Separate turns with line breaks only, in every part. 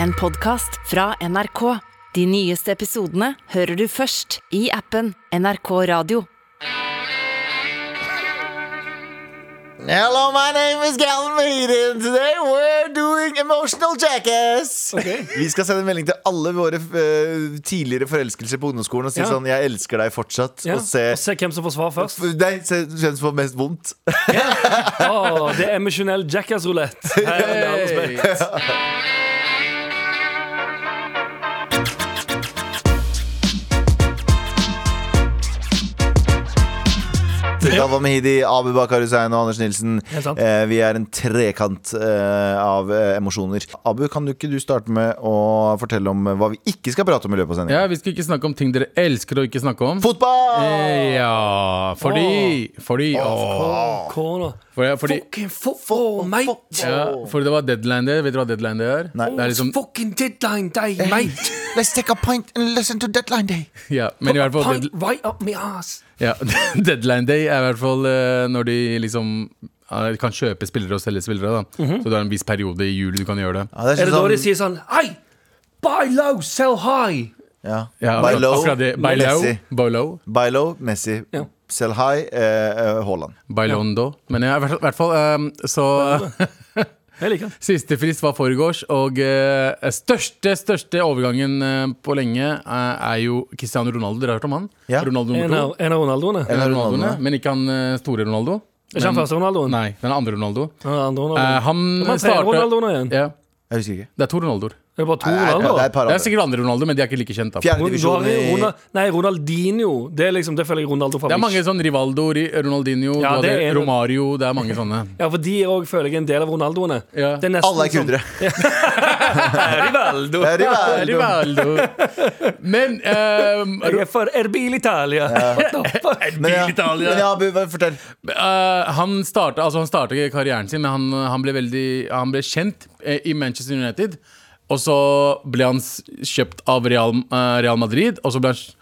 En podcast fra NRK. De nyeste episodene hører du først i appen NRK Radio.
Hello, my name is Galvan Mahidi, and today we're doing emotional jackass. Vi skal sende en melding til alle våre eh, tidligere forelskelser på ungdomsskolen og si
Ja.
sånn 'Jeg elsker deg fortsatt',
Ja,
og se
og se hvem som får svar først.
F- Nei, se hvem som får mest vondt.
Å, det er emosjonell jackass-rulett. Hey.
Galvan Mahidi, Abu Bakar Hussein og Anders Nilsen.
Helt sant.
Eh, vi er en trekant eh, av eh, emosjoner. Abu, kan du ikke du starte med å fortelle om eh, hva vi ikke skal prate om i løpet av sendingen?
Ja, Vi skal ikke snakke om ting dere elsker å ikke snakke om.
Fotball!
Eh, Ja, fordi Fordi åh.
Corner.
Fordi, fordi,
Fucking football, mate!
ja, fordi det var deadline day. Vet dere hva deadline day er?
Nei.
Det er liksom,
Fucking deadline day, mate!
Let's take a pint and listen to Deadline Day.
ja, men i hvert fall
Pint
dead,
right up my ass!
ja, Deadline day er i hvert fall eh, når de liksom eh, kan kjøpe spillere og selge spillere. da Så det er en viss periode i juli du kan gjøre det.
Er det da de sier sånn Hei! Buy low, sell high!
ja.
Ja,
Buy
akkurat-
low,
akkurat det. Buy low,
Messi.
buy low,
Buy low, Messi.
Ja.
Sell high, eh, eh, Haaland.
buy londo. Men ja, i hvert fall, i hvert fall eh, så
Jeg liker den.
Siste frist var foregårs, og eh, største største overgangen eh, på lenge eh, er jo Cristiano Ronaldo. Dere har hørt om han?
Ja.
Ronaldo
En
nummer to.
av, en av Ronaldoene.
En av
Ronaldoene,
Ronaldoene.
Men ikke han eh, store Ronaldo.
Ikke han
Men-
første Ronaldoen?
Nei, den andre Ronaldo.
Han er andre
Eh,
Ronaldoen.
han
Men han tredje
starta
Ronaldoen igjen.
Ja,
Jeg husker ikke.
det er to Ronaldoer.
Det er bare to
Nei, det er- det er et
Ronaldoer.
par
Det er
andre.
sikkert andre Ronaldo, men de er ikke like kjent. da Det
Fjerde divisjon i
Ronald, nei, Ronaldinho. Det er liksom, det føler jeg Ronaldo
er mange
favoritt.
sånn Rivaldo, Ri- Ronaldinho,
Ja,
du hadde
det er-
Romario Det er mange sånne.
Ja, for de òg føler jeg er en del av Ronaldoene.
Ja.
Det nesten liksom-
Alle er
som-
kurdere.
sånn.
Rivaldo.
Det er Rivaldo.
Rivaldo. Men eh,
Jeg er for Erbil Italia. What the fuck?
Men ja,
Italia.
men ja, Abu, hva- fortell.
Eh, han starta altså han startet ikke karrieren sin, men han, han, ble, veldig, han ble kjent eh, i Manchester United. Og så ble han s- kjøpt av Real, eh, Real Madrid, og så, ble han, s-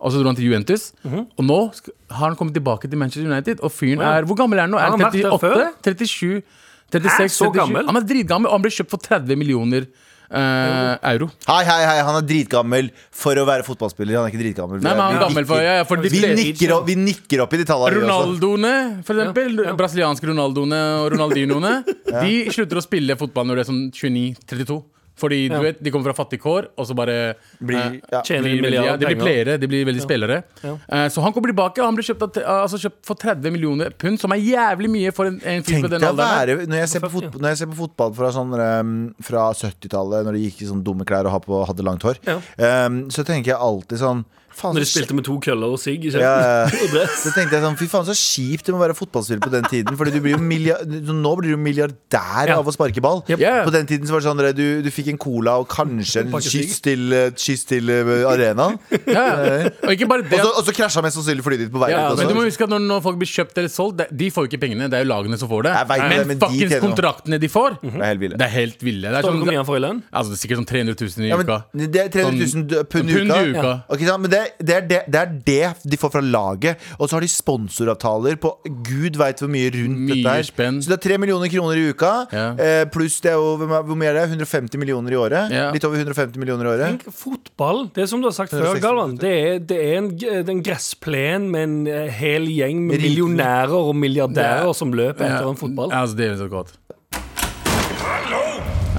og så dro han til Juventus. Og nå sk- har han kommet tilbake til Manchester United, og fyren
Mhm. Ja.
er Hvor gammel er han nå? Er
Har
han
han vært der
38? 37? 36?
Hæ, så
37?
gammel?
Han er dritgammel, og han ble kjøpt for 30 millioner eh, euro.
Hei, hei, hei, han er dritgammel for å være fotballspiller. Han er ikke dritgammel.
Nei, men han er gammel for, ja, ja, for de
Vi
fleste-
nikker, opp, vi nikker opp i altså. de tallene. vi også.
Ronaldoene, for eksempel. Brasilianske Ronaldoene og Ronaldinoene. De slutter å spille fotball når du er sånn 29-32. Fordi du vet, de kommer fra fattige kår, og så bare eh,
Blir, ja.
Tjener
blir
en
veldig, ja,
milliard
de blir
penger.
pleiere, de blir veldig spillere. Eh, så han kommer tilbake, og han blir kjøpt, av, altså kjøpt for 30 millioner pund, som er jævlig mye for en, en fyr
Tenk
på
deg
den
å
alderen.
være Når jeg ser på, fotball, når jeg ser på fotball fra, sånn, ehm, fra 70-tallet, når de gikk i sånn dumme klær og ha på- hadde langt hår,
Ja.
ehm, så tenker jeg alltid sånn faen,
Når de
så
spilte med to køller og sigg.
Ja,
i kjeften.
ja, ja.
Og dress.
Så tenkte jeg sånn, fy faen så kjipt det må være fotballspiller på den tiden Fordi du blir jo milliard, nå blir du jo milliardær
Ja.
av å sparke ball
Jep.
Ja.
På den tiden så var det sånn, dere, du, du fikk en cola og kanskje en
Pakke
kyss til, eh, kyss til eh, arenaen Og
Ja, ja. Og ikke bare det.
så- og så krasja mest sannsynlig flyet ditt på vei
Ja,
ut altså.
men du må
også.
huske at når, når folk blir kjøpt eller solgt, de- de får jo ikke pengene. Det er jo lagene som får det.
Jeg vet det,
Men,
men de
fuckings
tjener Mhm. noe.
kontraktene de får,
Det er helt ville
det er helt ville. Det er
Står det hvor mye
sånn,
han får i lønn?
altså, det er sikkert sånn 300 000 i
ja,
uka. Sånn-
men det er 300 000 d- pund i
Pund
uka,
i uka.
Ok, sant? Men det, det, er det, det er det de får fra laget Og så har de sponsoravtaler på Gud vet hvor mye rundt
Mye
dette her
spenn.
Så det er 3 millioner kroner i uka
Ja.
eh, Pluss det er jo, hvem er- hvor mye er det? 150 millioner i året
Ja. Mm.
Litt over 150 millioner i året
Tenk, Fotball, det er som du har sagt før,
160
Galvan. Det er, det er en, g- det er en gressplen med en eh, hel gjeng med
Rike.
millionærer og milliardærer
Ja.
som løper etter en fotball.
Ja, altså, det er så godt.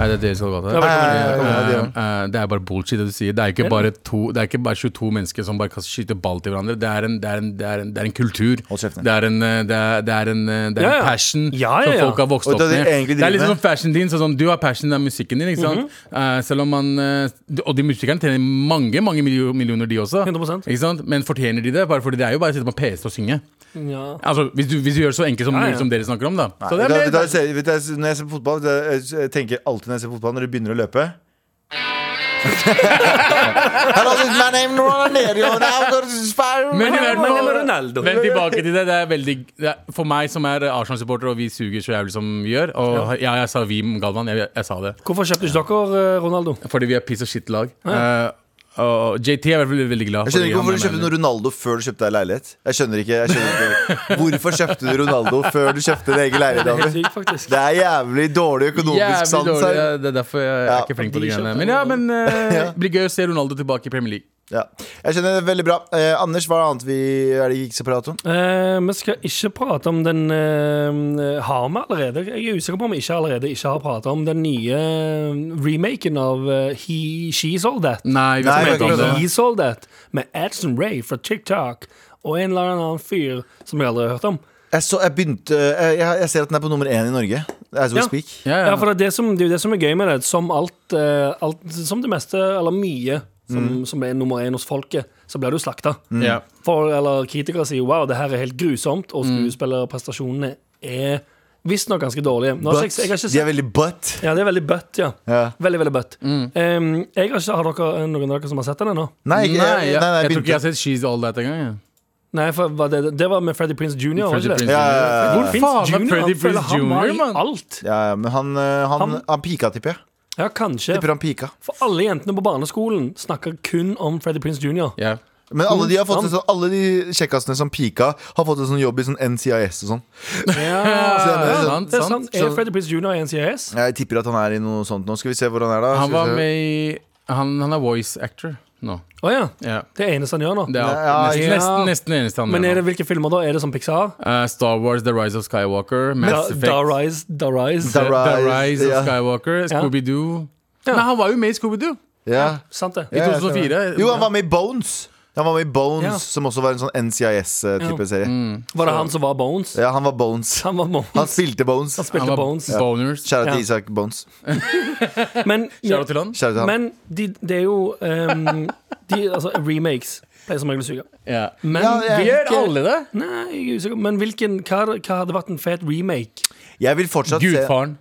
Nei, det er det som er godt.
Ja,
her.
Ja, ja,
velkommen.
ja, ja,
Eh,
ja, ja.
eh, det er bare bullshit det du sier. Det er ikke bare, to, det er ikke bare 22 mennesker som bare kan skyte ball til hverandre. Det er en, det er en, det er en, det er en kultur.
Hold kjeften.
Det er en, eh, det er, det er en, eh, det er
Ja,
en
ja.
passion
Ja, ja, ja.
som folk har vokst
Og det er
opp
det
med.
de egentlig
Det er
driver
liksom
med.
som fashion din, sånn som du har passion, det er musikken din. Ikke sant?
Mhm.
Eh, selv om man eh, Og de musikerne tjener mange mange millio- millioner, de også.
100%.
Ikke sant? Men fortjener de det? Bare fordi det er jo bare å sitte på PC og synge.
Ja.
Altså, hvis du, hvis du gjør det så enkelt som,
Ja, ja.
som dere snakker om, da. Så det
Vet
er
du hva-
mer-
vet du hva jeg ser- vet du hva jeg ser- Når jeg ser på fotball vet du hva Jeg jeg tenker alltid når jeg ser på fotball Når de begynner å løpe Hello, this is my name Ronaldinho, and I'm gonna inspire-
Men i hvert
Men det
fall
var Ronaldo.
Men tilbake til det. Det er veldig det er, For meg som er Arsenal-supporter, og vi suger så jævlig som vi gjør Og ja, jeg sa vi, Galvan. Jeg, jeg sa det.
Hvorfor kjøpte ikke dere eh, Ronaldo?
Fordi vi er piss og shit-lag. Eh, Og JT er i hvert fall veldig glad.
Jeg skjønner ikke hvorfor du
fordi han er
kjøpte
manager.
noe Ronaldo før du kjøpte deg leilighet. Jeg skjønner ikke, jeg skjønner ikke Hvorfor kjøpte du Ronaldo før du kjøpte din egen leilighet?
Det er
Abu?
helt sykt, faktisk.
Det er jævlig dårlig økonomisk
Jævlig
sans
dårlig,
her.
ja, Det er derfor jeg er
Ja.
ikke flink
De
på de greiene.
kjøpte
Men ja, men eh,
Ja.
blir gøy å se Ronaldo tilbake i Premier League.
Ja. Jeg skjønner det veldig bra. Eh, Anders, hva annet vi er det ikke skal prate om?
Eh, vi skal ikke prate om den eh, Har vi allerede? Jeg er usikker på om vi ikke allerede ikke har pratet om den nye eh, remaken av eh, He, She's All That.
Nei, vi
Nei,
skal
det er
ikke om
ikke
det.
He's All That med Adson Ray fra TikTok og en eller annen fyr som jeg aldri har hørt om.
Jeg, så, jeg, begynte, eh, jeg, jeg ser at den er på nummer én i Norge. As we
Ja.
speak.
Ja,
Ja,
ja.
for det er det som, det er jo det som er gøy med det. Som alt, eh, alt Som det meste, eller mye, som, som er nummer én hos folket, så blir du slakta.
ja.
For, eller kritikere sier wow, det her er helt grusomt, og skuespillerprestasjonene er visstnok ganske dårlige. Nå, har
But.
ikke- jeg, har ikke
De
sett,
er veldig but.
ja, det er veldig butt, ja.
Ja.
Veldig, veldig butt. Em, jeg har ikke, har dere noen av dere som har sett den ennå?
Nei, ikke,
nei,
jeg,
ja.
nei, nei,
jeg tror ikke jeg
begynte.
har sett She's All That engang. jeg.
Nei, for var det, det var med Freddie Prince Jr. var
Freddie
ikke det?
Prinze
Ja, ja, ja, ja.
Jr. Hvor
Prinze
faen er
Jr.,
Freddie
han føler
Prince
han var
Jr.,
i
mann?
Alt.
Ja, ja, men han, eh, han,
Han-
han pika, tipper jeg.
Ja, kanskje.
Tipper han pika.
For alle jentene på barneskolen snakker kun om Freddie Prince Jr.
Ja.
Men alle de, har fått
Han-
en sånn, alle de kjekkasene som pika, har fått en sånn jobb i sånn NCIS og sånn.
Ja,
sant,
sant,
Det er
sant.
sant. Er Freddie Prince Jr. i NCIS?
Jeg tipper at han er i noe sånt nå. Skal vi se hvor han er, da. Skal
Han
vi
var
se.
med i Han, han er voice actor nå.
Å ja.
Ja.
Det er eneste han gjør nå.
Det er
Ja,
ja.
nesten, nesten, nesten eneste han
Men
gjør
er det
nå.
hvilke filmer da? Er det som Pixar?
Eh, Star Wars, The Rise of Skywalker,
Da,
Mass
da
Effect,
Rise, Da Rise.
Da-
The, The Rise
ja.
of Skywalker, Scooby-Doo
Ja.
Nei, han var jo med i Scooby-Doo!
Ja.
Sant det.
I
Ja, jeg
2004.
Jo, han var med i Bones. Han var med i Bones,
Ja.
som også var en sånn NCIS-type
Ja.
serie.
Mm.
Var det han som var Bones?
Ja, han var Bones.
Han var
Han
Bones.
spilte Bones.
Han spilte
Han var
Bones.
Boners.
Kjære til
Ja.
Isak Bones.
Men,
Shout out til han.
Kjære til han.
men de, det er jo um, de, altså, Remakes pleier som regel å suge.
Ja.
Men,
Ja, ja.
hvil-
Gjør alle det?
nei, jeg er usikker. Men hvilken, hva, hva hadde vært en fet remake?
Jeg vil fortsatt se
Gudfaren.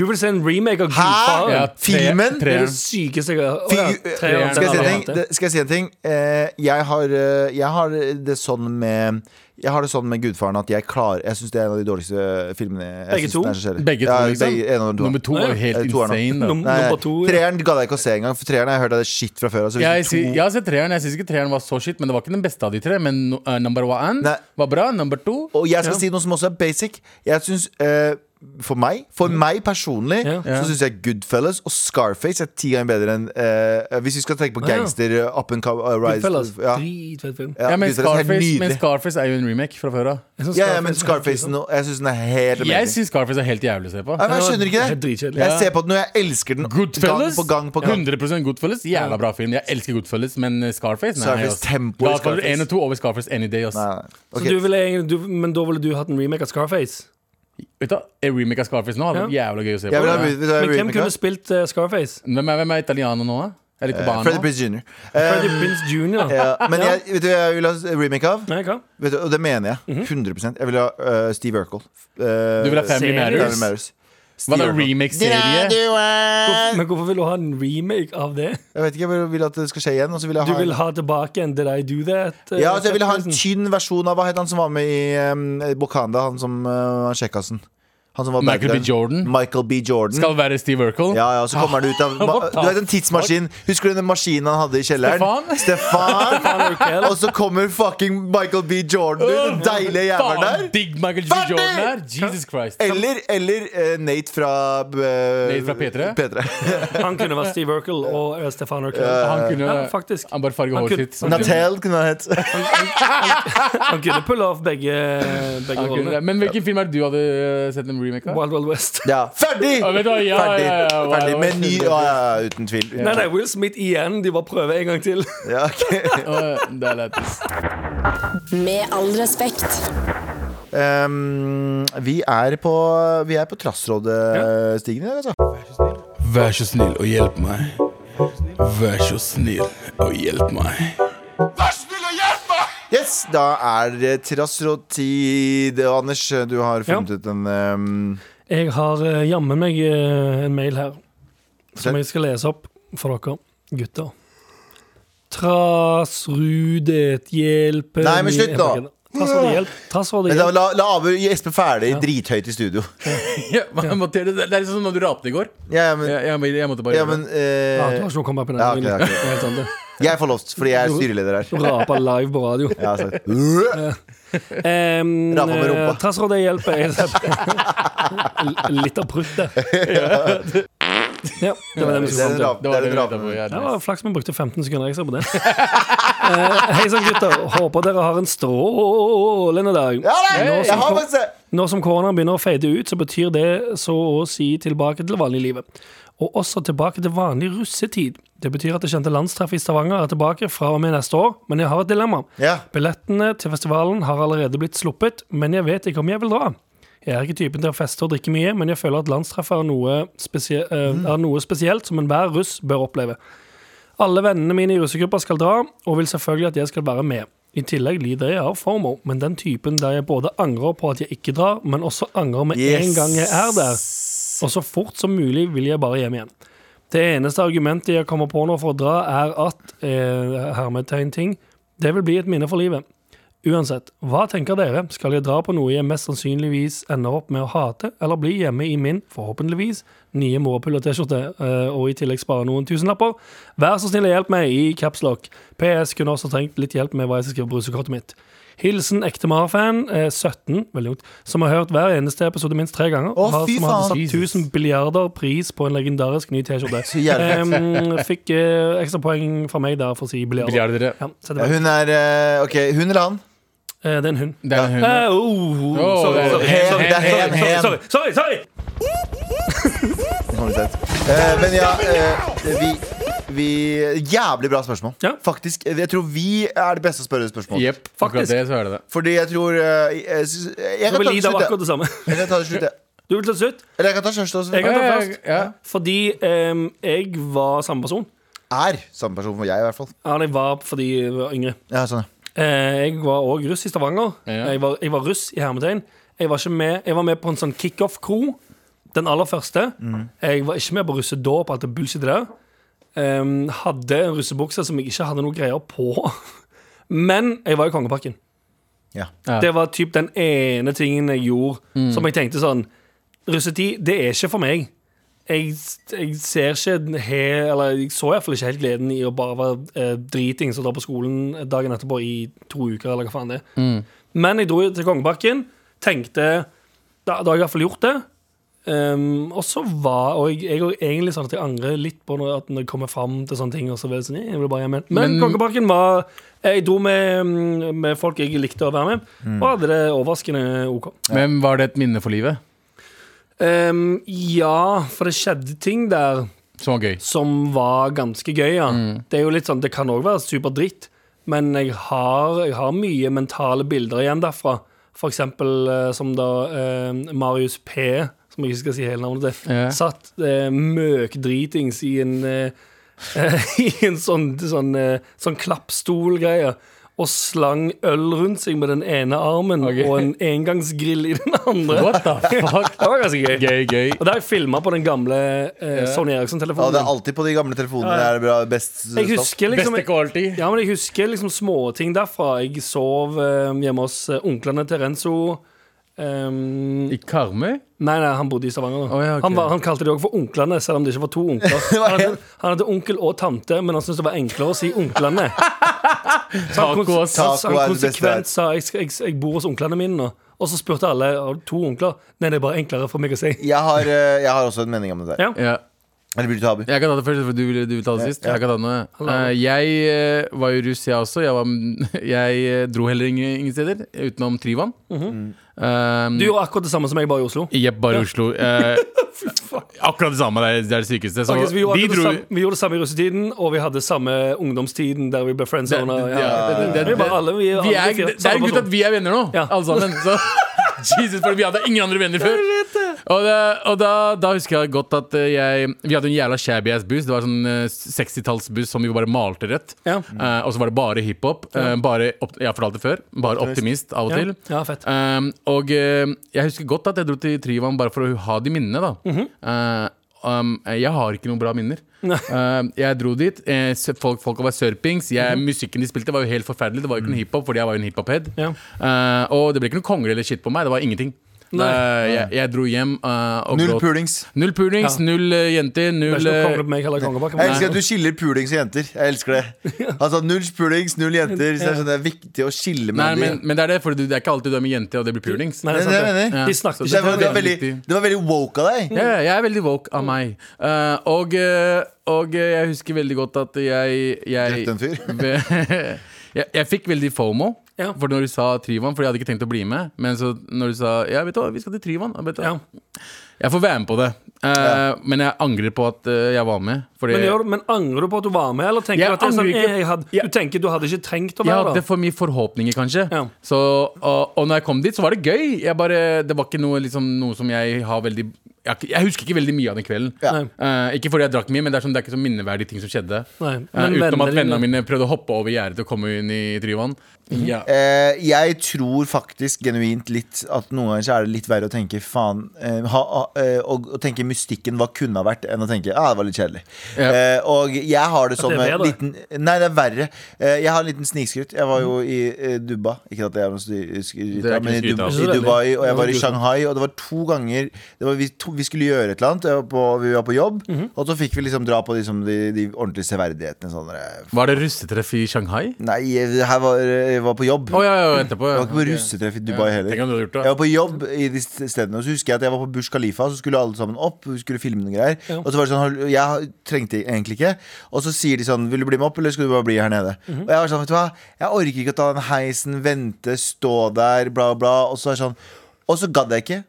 Du vil se en remake av
Hæ?
Gudfaren?
Ja, tre-
Filmen?
Det er
treeren.
det sykeste jeg har Å ja,
Fy-
treeren,
Skal jeg si
den har
en
jeg
ting?
hatt, det.
Det- Skal jeg si en ting? Eh, Jeg har, eh, jeg har det sånn med Jeg har det sånn med Gudfaren at jeg klarer Jeg syns det er en av de dårligste filmene. Jeg
Begge
synes
to?
den er så kjedelig.
Begge to,
ja,
liksom?
Begge, en av de to.
Nummer to er jo helt
Eh, toeren, da.
insane. Da.
Num-
Nei,
Nummer to, ja.
Treeren gadd jeg ikke å se engang, for treeren har jeg hørt at det er shit fra før. Altså, hvis
Jeg,
du
si,
to-
jeg har sett treeren. Jeg syns ikke treeren var så shit, men det var ikke den beste av de tre. Men no, eh, number one
Nei.
var bra. Number two
Og jeg skal si noe som også er basic. Jeg synes, eh, for meg For meg personlig
Mm. Ja.
Så syns jeg Goodfellas og Scarface er ti ganger bedre enn eh, Hvis vi skal tenke på
Ja.
gangster uh, up and come, uh, rise,
Goodfellas.
Ja.
Dritfett film.
Ja,
ja, men,
Goodfellas er helt
Scarface, men
nydelig.
Scarface er jo en remake fra før av.
Jeg synes
Ja, ja, men
Scarface
Scarface
er helt
nå, Jeg syns den er helt
Jeg
amazing.
syns Scarface er helt jævlig å se på.
Nei, men jeg skjønner ikke det.
Helt dritkjedelig.
Jeg ser på den, og jeg elsker den gang
Goodfellas.
på gang på gang.
100 Goodfellas. Jævla bra film. Jeg elsker Goodfellas, men eh, Scarface Nei,
Scarface,
ass.
tempo i
Da tar du
Scarface.
én og to over Scarface any day. Ass.
Nei, nei.
Så
Ok.
du ville, egentlig- du, men da ville du hatt en remake av Scarface?
Vet du, hva? En remake av Scarface nå hadde vært jævla gøy å se
Jeg vil ha
på.
vet du hva jeg
Men
vil
hvem
ha?
kunne spilt eh, Scarface?
Hvem er, hvem er italiener nå? da? Er det
Eh, Freddie
Cubano?
Prinze Jr.
Freddie
Eh,
Prince Jr.
ja, men jeg, vet du hva jeg vil ha remake av?
Nei, hva?
Vet du, og det mener jeg. 100 Jeg vil ha eh, Steve Urkel. Eh,
Du vil ha Family
Seriøst?
Matters?
Family Matters. Steve
Hva da,
Urkel.
remake-serie?
Eh.
Men hvorfor vil du ha en remake av det?
Jeg vet ikke, jeg bare vil at det skal skje igjen. Og så vil jeg
Du
ha,
vil ha tilbake en Did I Do That? eh,
ja, altså, jeg vil ha en
settelsen?
tynn versjon av Hva het han som var med i um, Bokanda? Han som uh, var kjekkasen. Han som var
Michael B.
backeren.
Jordan?
Michael B. Jordan.
Skal være Steve Urkel?
Ja, ja, og så kommer han ut av
What
Du vet en tidsmaskin? Husker du den maskinen han hadde i kjelleren? Stefan.
Urkel.
og så kommer fucking Michael B. Jordan ut. Den deilige jævelen der.
Faen, digg Michael G.
Ferdig!
Jordan her! Jesus Christ.
Eller, eller eh, Nate fra eh,
Nate fra P3?
Han kunne vært Steve Urkel og eh, Stefan Urkel.
Han kunne
Ja, faktisk.
Han bare farga
Han
håret
kunne-
sitt. som-
Natel kunne han hett.
Han kunne pulle off begge, begge
Han kunne
rollene.
det. Men hvilken film er det du hadde øh, sett en remake av?
Wild Wild West.
Ja. Ferdig!
Ja, vet du hva, ja,
Ferdig.
ja, ja, ja,
Ferdig.
wow,
Med ny
wow.
ja, ja, ja, Uten tvil.
Nei, nei, Will Smith igjen. De bare prøver en gang til.
Ja, ok.
Åh, det er lættis.
Med all respekt.
um, vi er på Vi er på Trassrådet-stigen i dag, altså.
Vær så snill og hjelp meg. Vær så snill og hjelp meg.
Yes, da er det Trassråd-tid. Og Anders, du har funnet ut en um,
Jeg har eh, jammen meg eh, en mail her som jeg skal lese opp for dere gutter. Trasrudet hjelper
Nei, men slutt nå.
Jeg- Trassrådet hjelp. Trassrådet
Men da,
hjelp.
la, la Abu gjespe ferdig drithøyt i studio.
Ja, men Mathilde, det det er litt sånn som når du rapte i går.
Ja, men,
Jeg, jeg, jeg måtte bare
ja,
gjøre
men
det.
eh,
Ja, du har ikke noe å komme på den.
Ja, ok,
Det er
ok.
helt sant, det.
Jeg får lov, fordi jeg er styreleder her.
Du raper live på radio.
Jeg har sagt «Øh».
Um,
Raper med rumpa.
Trassrådet hjelper. L- Litt av pruttet. Ja, det var det vi
Det er
skulle fram
en
til.
rap- det er en
vi ventet på,
rape.
ja,
Det
nice.
var flaks vi brukte 15 sekunder ekstra på det. Eh, Hei sann, gutter. Håper dere har en strålende dag.
Ja, nei,
Nå
jeg
som
har
kom-
faktisk det!
Når som koronaen begynner å fade ut, så betyr det så å si tilbake til vanliglivet. Og også tilbake til vanlig russetid. Det betyr at det kjente landstreffet i Stavanger er tilbake fra og med neste år, men jeg har et dilemma.
Ja.
Billettene til festivalen har allerede blitt sluppet, men jeg vet ikke om jeg vil dra. Jeg er ikke typen til å feste og drikke mye, men jeg føler at landstreffet er noe, spesie eh,
Mm.
er noe spesielt som enhver russ bør oppleve. Alle vennene mine i russegruppa skal dra, og vil selvfølgelig at jeg skal være med. I tillegg lider jeg av FOMO, men den typen der jeg både angrer på at jeg ikke drar, men også angrer med en gang jeg er der. Og så fort som mulig vil jeg bare hjem igjen. Det eneste argumentet jeg kommer på nå for å dra, er at eh, hermetegn-ting Det vil bli et minne for livet. Uansett, hva tenker dere? Skal jeg dra på noe jeg mest sannsynligvis ender opp med å hate, eller bli hjemme i min, forhåpentligvis, nye morapull og T-skjorte, eh, og i tillegg spare noen tusenlapper? Vær så snill og hjelp meg i capslock. PS kunne også trengt litt hjelp med hva jeg skal skrive på brusekortet mitt. Hilsen ektemar-fan, eh, 17, veldig ungt, som har hørt hver eneste episode minst tre ganger.
Å,
har-
fy
som har
faen.
satt 1000 billiarder pris på en legendarisk ny T-skjorte.
Så jævlig
Em, fikk eh, ekstra poeng fra meg der for å si billiarder.
Billiarder, ja.
Ja, så det,
Ja,
var-
Hun er eh, OK, hun eller han?
eh, det er en hund.
Det er en hund.
Eh, oh,
Åh,
sorry,
det er- sånn.
sorry,
Hen,
sorry,
det er hen,
sorry,
hen.
sorry, sorry, sorry.
Har du sett. Eh, men ja, eh, vi, vi Jævlig bra spørsmål.
Ja.
Faktisk. eh, Jeg tror vi er det beste å spørre spørsmål.
Jepp, akkurat
Faktisk.
det, så er det det.
Fordi jeg tror eh, jeg, jeg, syns- jeg kan
Du vil
ta det
lide av
slutt,
akkurat
jeg.
det samme.
Jeg kan ta det slutt, jeg.
Du vil til slutt?
Eller jeg kan ta kjæreste også.
Jeg kan ta
Ja, ja,
først.
ja.
Fordi em, jeg var samme person.
Er samme person som jeg, i hvert fall.
Ja, jeg var fordi jeg var yngre.
Ja, sånn, ja.
Eh, jeg var òg russ i Stavanger.
Ja.
Jeg, var, jeg var russ i hermetegn. Jeg var, ikke med, jeg var med på en sånn kickoff-kro. Den aller første. Jeg var ikke med på russedåp og alt det bullshitet der. Em, hadde en russebukse som jeg ikke hadde noe greier på. Men jeg var i Kongeparken.
Ja.
Ja.
Det var typ den ene tingen jeg gjorde som jeg tenkte sånn Russetid, det er ikke for meg. Jeg, jeg ser ikke den he, Eller jeg så iallfall ikke helt gleden i å bare være eh, dritings og dra på skolen dagen etterpå i to uker, eller hva faen det er. Men jeg dro jo til Kongebakken, tenkte Da, da har jeg iallfall gjort det. Um, og så var Og jeg, jeg er jo egentlig sånn at jeg angrer litt på når, at når jeg kommer fram til sånne ting. Og så vil jeg, sånn, «Eh, jeg vil bare hjem igjen. Men,
Men-
Kongeparken var Jeg dro med, mm, med folk jeg likte å være med, og hadde det overraskende OK.
Men var det et minne for livet?
Um, ja, for det skjedde ting der
Som var gøy.
som var ganske gøy, ja.
Mm.
Det er jo litt sånn, det kan òg være superdritt, men jeg har, jeg har mye mentale bilder igjen derfra. For eksempel eh, som da eh, Marius P, som jeg ikke skal si hele navnet til,
Ja.
satt eh, møkdritings i en eh, I en sånn, sånn, eh, sånn klappstolgreie. Og slang øl rundt seg med den ene armen
Ok.
og en engangsgrill i den andre.
What the fuck?
Det var ganske gøy.
Gøy, gøy.
Og det har jeg filma på den gamle eh, Sony
Ja,
Eriksson-telefonen.
det er alltid på de gamle telefonene det er bra, best stoff.
Jeg husker liksom
Beste quality.
ja, men jeg husker liksom småting derfra. Jeg sov eh, hjemme hos eh, onklene til Renzo. Ehm,
I Karmøy?
nei, nei, han bodde i Stavanger. da
Å, ja, ok.
han, var, han kalte de òg for onklene, selv om det ikke var to onkler. Han hadde, han hadde onkel og tante, men han syntes det var enklere å si onklene. Så han,
Taco og
kons så
taco
han
er det beste der.
konsekvent sa jeg, skal- jeg, jeg bor hos onklene mine nå. Og så spurte alle har du to onkler. Nei, det er bare enklere for meg å si.
Jeg har, eh, jeg har også en mening om det der.
Ja.
Ja.
Eller vil du ta Abu?
Jeg kan ta det først, for du vil, du vil ta det sist.
ja.
Jeg kan ta noe. Eh, jeg eh, var jo russ, jeg også. Jeg, var, jeg eh, dro heller ingen, ingen steder utenom Tryvann.
Mhm.
Mm.
Um,
Du gjorde akkurat det samme som jeg, bare i Oslo.
Jepp, bare Oslo. Eh, akkurat det samme. Det er det, er det sykeste. Så
Faktisk, vi, gjorde
de
akkurat det
dro
samme, vi gjorde det samme i russetiden, og vi hadde samme ungdomstiden der vi ble friendzona.
Det- det-
Ja.
ja, det- det-
Vi er bare alle, vi er
vi
alle
er,
fire,
det er
samme
en grunn til at
person.
vi er venner nå,
Ja.
alle sammen. Så, Jesus, for vi hadde ingen andre venner før. Og, det, og da, da husker jeg godt at eh, jeg Vi hadde en jævla shabby ass buss. Det var sånn eh, 60-tallsbuss som vi bare malte rødt.
Ja.
Eh, og så var det bare hiphop. eh, bare opp- jeg har fortalt det før. Bare optimist av og
Ja.
til.
Ja, fett.
Ehm,
Mhm.
Eh, og eh, jeg husker godt at jeg dro til Tryvann bare for å ha de minnene, da. Eh, um, Jeg har ikke noen bra minner. Um, jeg dro dit. eh, s- Folk, folk var sørpings. Jeg, musikken de spilte, var jo helt forferdelig. Det var jo ikke noe hiphop, fordi jeg var jo en hiphop-head.
Mhm. Mm. Ja.
Eh, og det ble ikke noe kongler eller shit på meg. Det var ingenting. Eh, jeg, jeg dro hjem eh, og
Null
gråt.
pulings.
Null pulings,
Ja.
null eh, jenter,
Det er
null
ikke noe
eh,
kongle på meg eller kongebakken.
Jeg elsker at du skiller pulings og jenter. Jeg elsker det. Altså Null pulings, null jenter. Så det er sånn det er viktig å skille
Nei,
mellom
men,
de.
men det er det, for du- det er ikke alltid du er med jenter, og det blir pulings.
Nei, det
Det er
er
det jeg
sant, det.
mener.
De snakker
Så
Det
ikke
var,
til
det, var
hverandre.
veldig, det var veldig woke av deg.
Mm.
Ja, ja, jeg er veldig woke av meg. Eh, og, eh, og eh, jeg husker veldig godt at jeg, jeg
Drepte en fyr.
Ve- jeg, jeg fikk veldig fomo
Ja.
For når du sa Tryvann, for jeg hadde ikke tenkt å bli med. Men så når du sa ja, vet du hva, vi skal til Tryvann jeg vet du hva,
Ja.
Jeg får være med på det. Eh,
Ja.
Men jeg angrer på at eh, jeg var med. Fordi
Men, gjør, du- men angrer du på at du var med, eller tenker
Jeg
du at det er sånn,
angrer ikke.
eh, jeg hadde,
Jeg-
du tenker du hadde ikke trengt å
jeg
være
hadde
der?
for mye forhåpninger, kanskje.
Ja.
Så, og, og når jeg kom dit, så var det gøy. Jeg bare, det var ikke noe, liksom, noe som jeg har veldig jeg, har ikke- jeg husker ikke veldig mye av den kvelden.
Ja.
Nei.
Eh, ikke fordi jeg drakk mye, men det er, sånn, det er ikke så minneverdige ting som skjedde.
Nei,
Eh,
men
utenom
vennene dine-
at vennene mine prøvde å hoppe over gjerdet og komme inn i Tryvann. Ja.
Eh, jeg tror faktisk genuint litt at noen ganger så er det litt verre å tenke faen eh, ha, ha, eh, å, å tenke mystikken hva kunne ha vært, enn å tenke ah, det var litt kjedelig.
Ja.
Eh, og jeg har det
At
sånn
det
med
er
liten Nei, det er verre. Eh, jeg har en liten snikskryt. Jeg var jo i eh, Dubba. Ikke at det er noe eh, skryt,
Det er ikke
men i,
skryt altså.
Dub
av.
i Dubai, og jeg var i
Det er
Shanghai, og det var to ganger det var, vi, to, vi skulle gjøre et eller annet, jeg var på, vi var på jobb,
Mhm.
og så fikk vi liksom dra på liksom, de, de ordentlige severdighetene. Sånn, eh, f-
Var det russetreff i Shanghai?
nei, jeg, her var, jeg var på jobb.
Å ja, ja, etterpå.
Jeg
Ja.
var ikke på russetreff i Dubai heller.
Tenk om du hadde gjort det.
Jeg var på jobb i de st- stedene, og så husker jeg at jeg var på Burj Khalifa, så skulle alle sammen opp, vi skulle filme noen greier. Og så var det sånn, har- jeg trengte egentlig ikke. Og så sier de sånn, vil du bli med opp, eller skal du bare bli her nede?
Mhm.
Og jeg var sånn, vet du hva, jeg orker ikke å ta den heisen, vente, stå der, bla bla, og så er det sånn, og så gadd jeg ikke.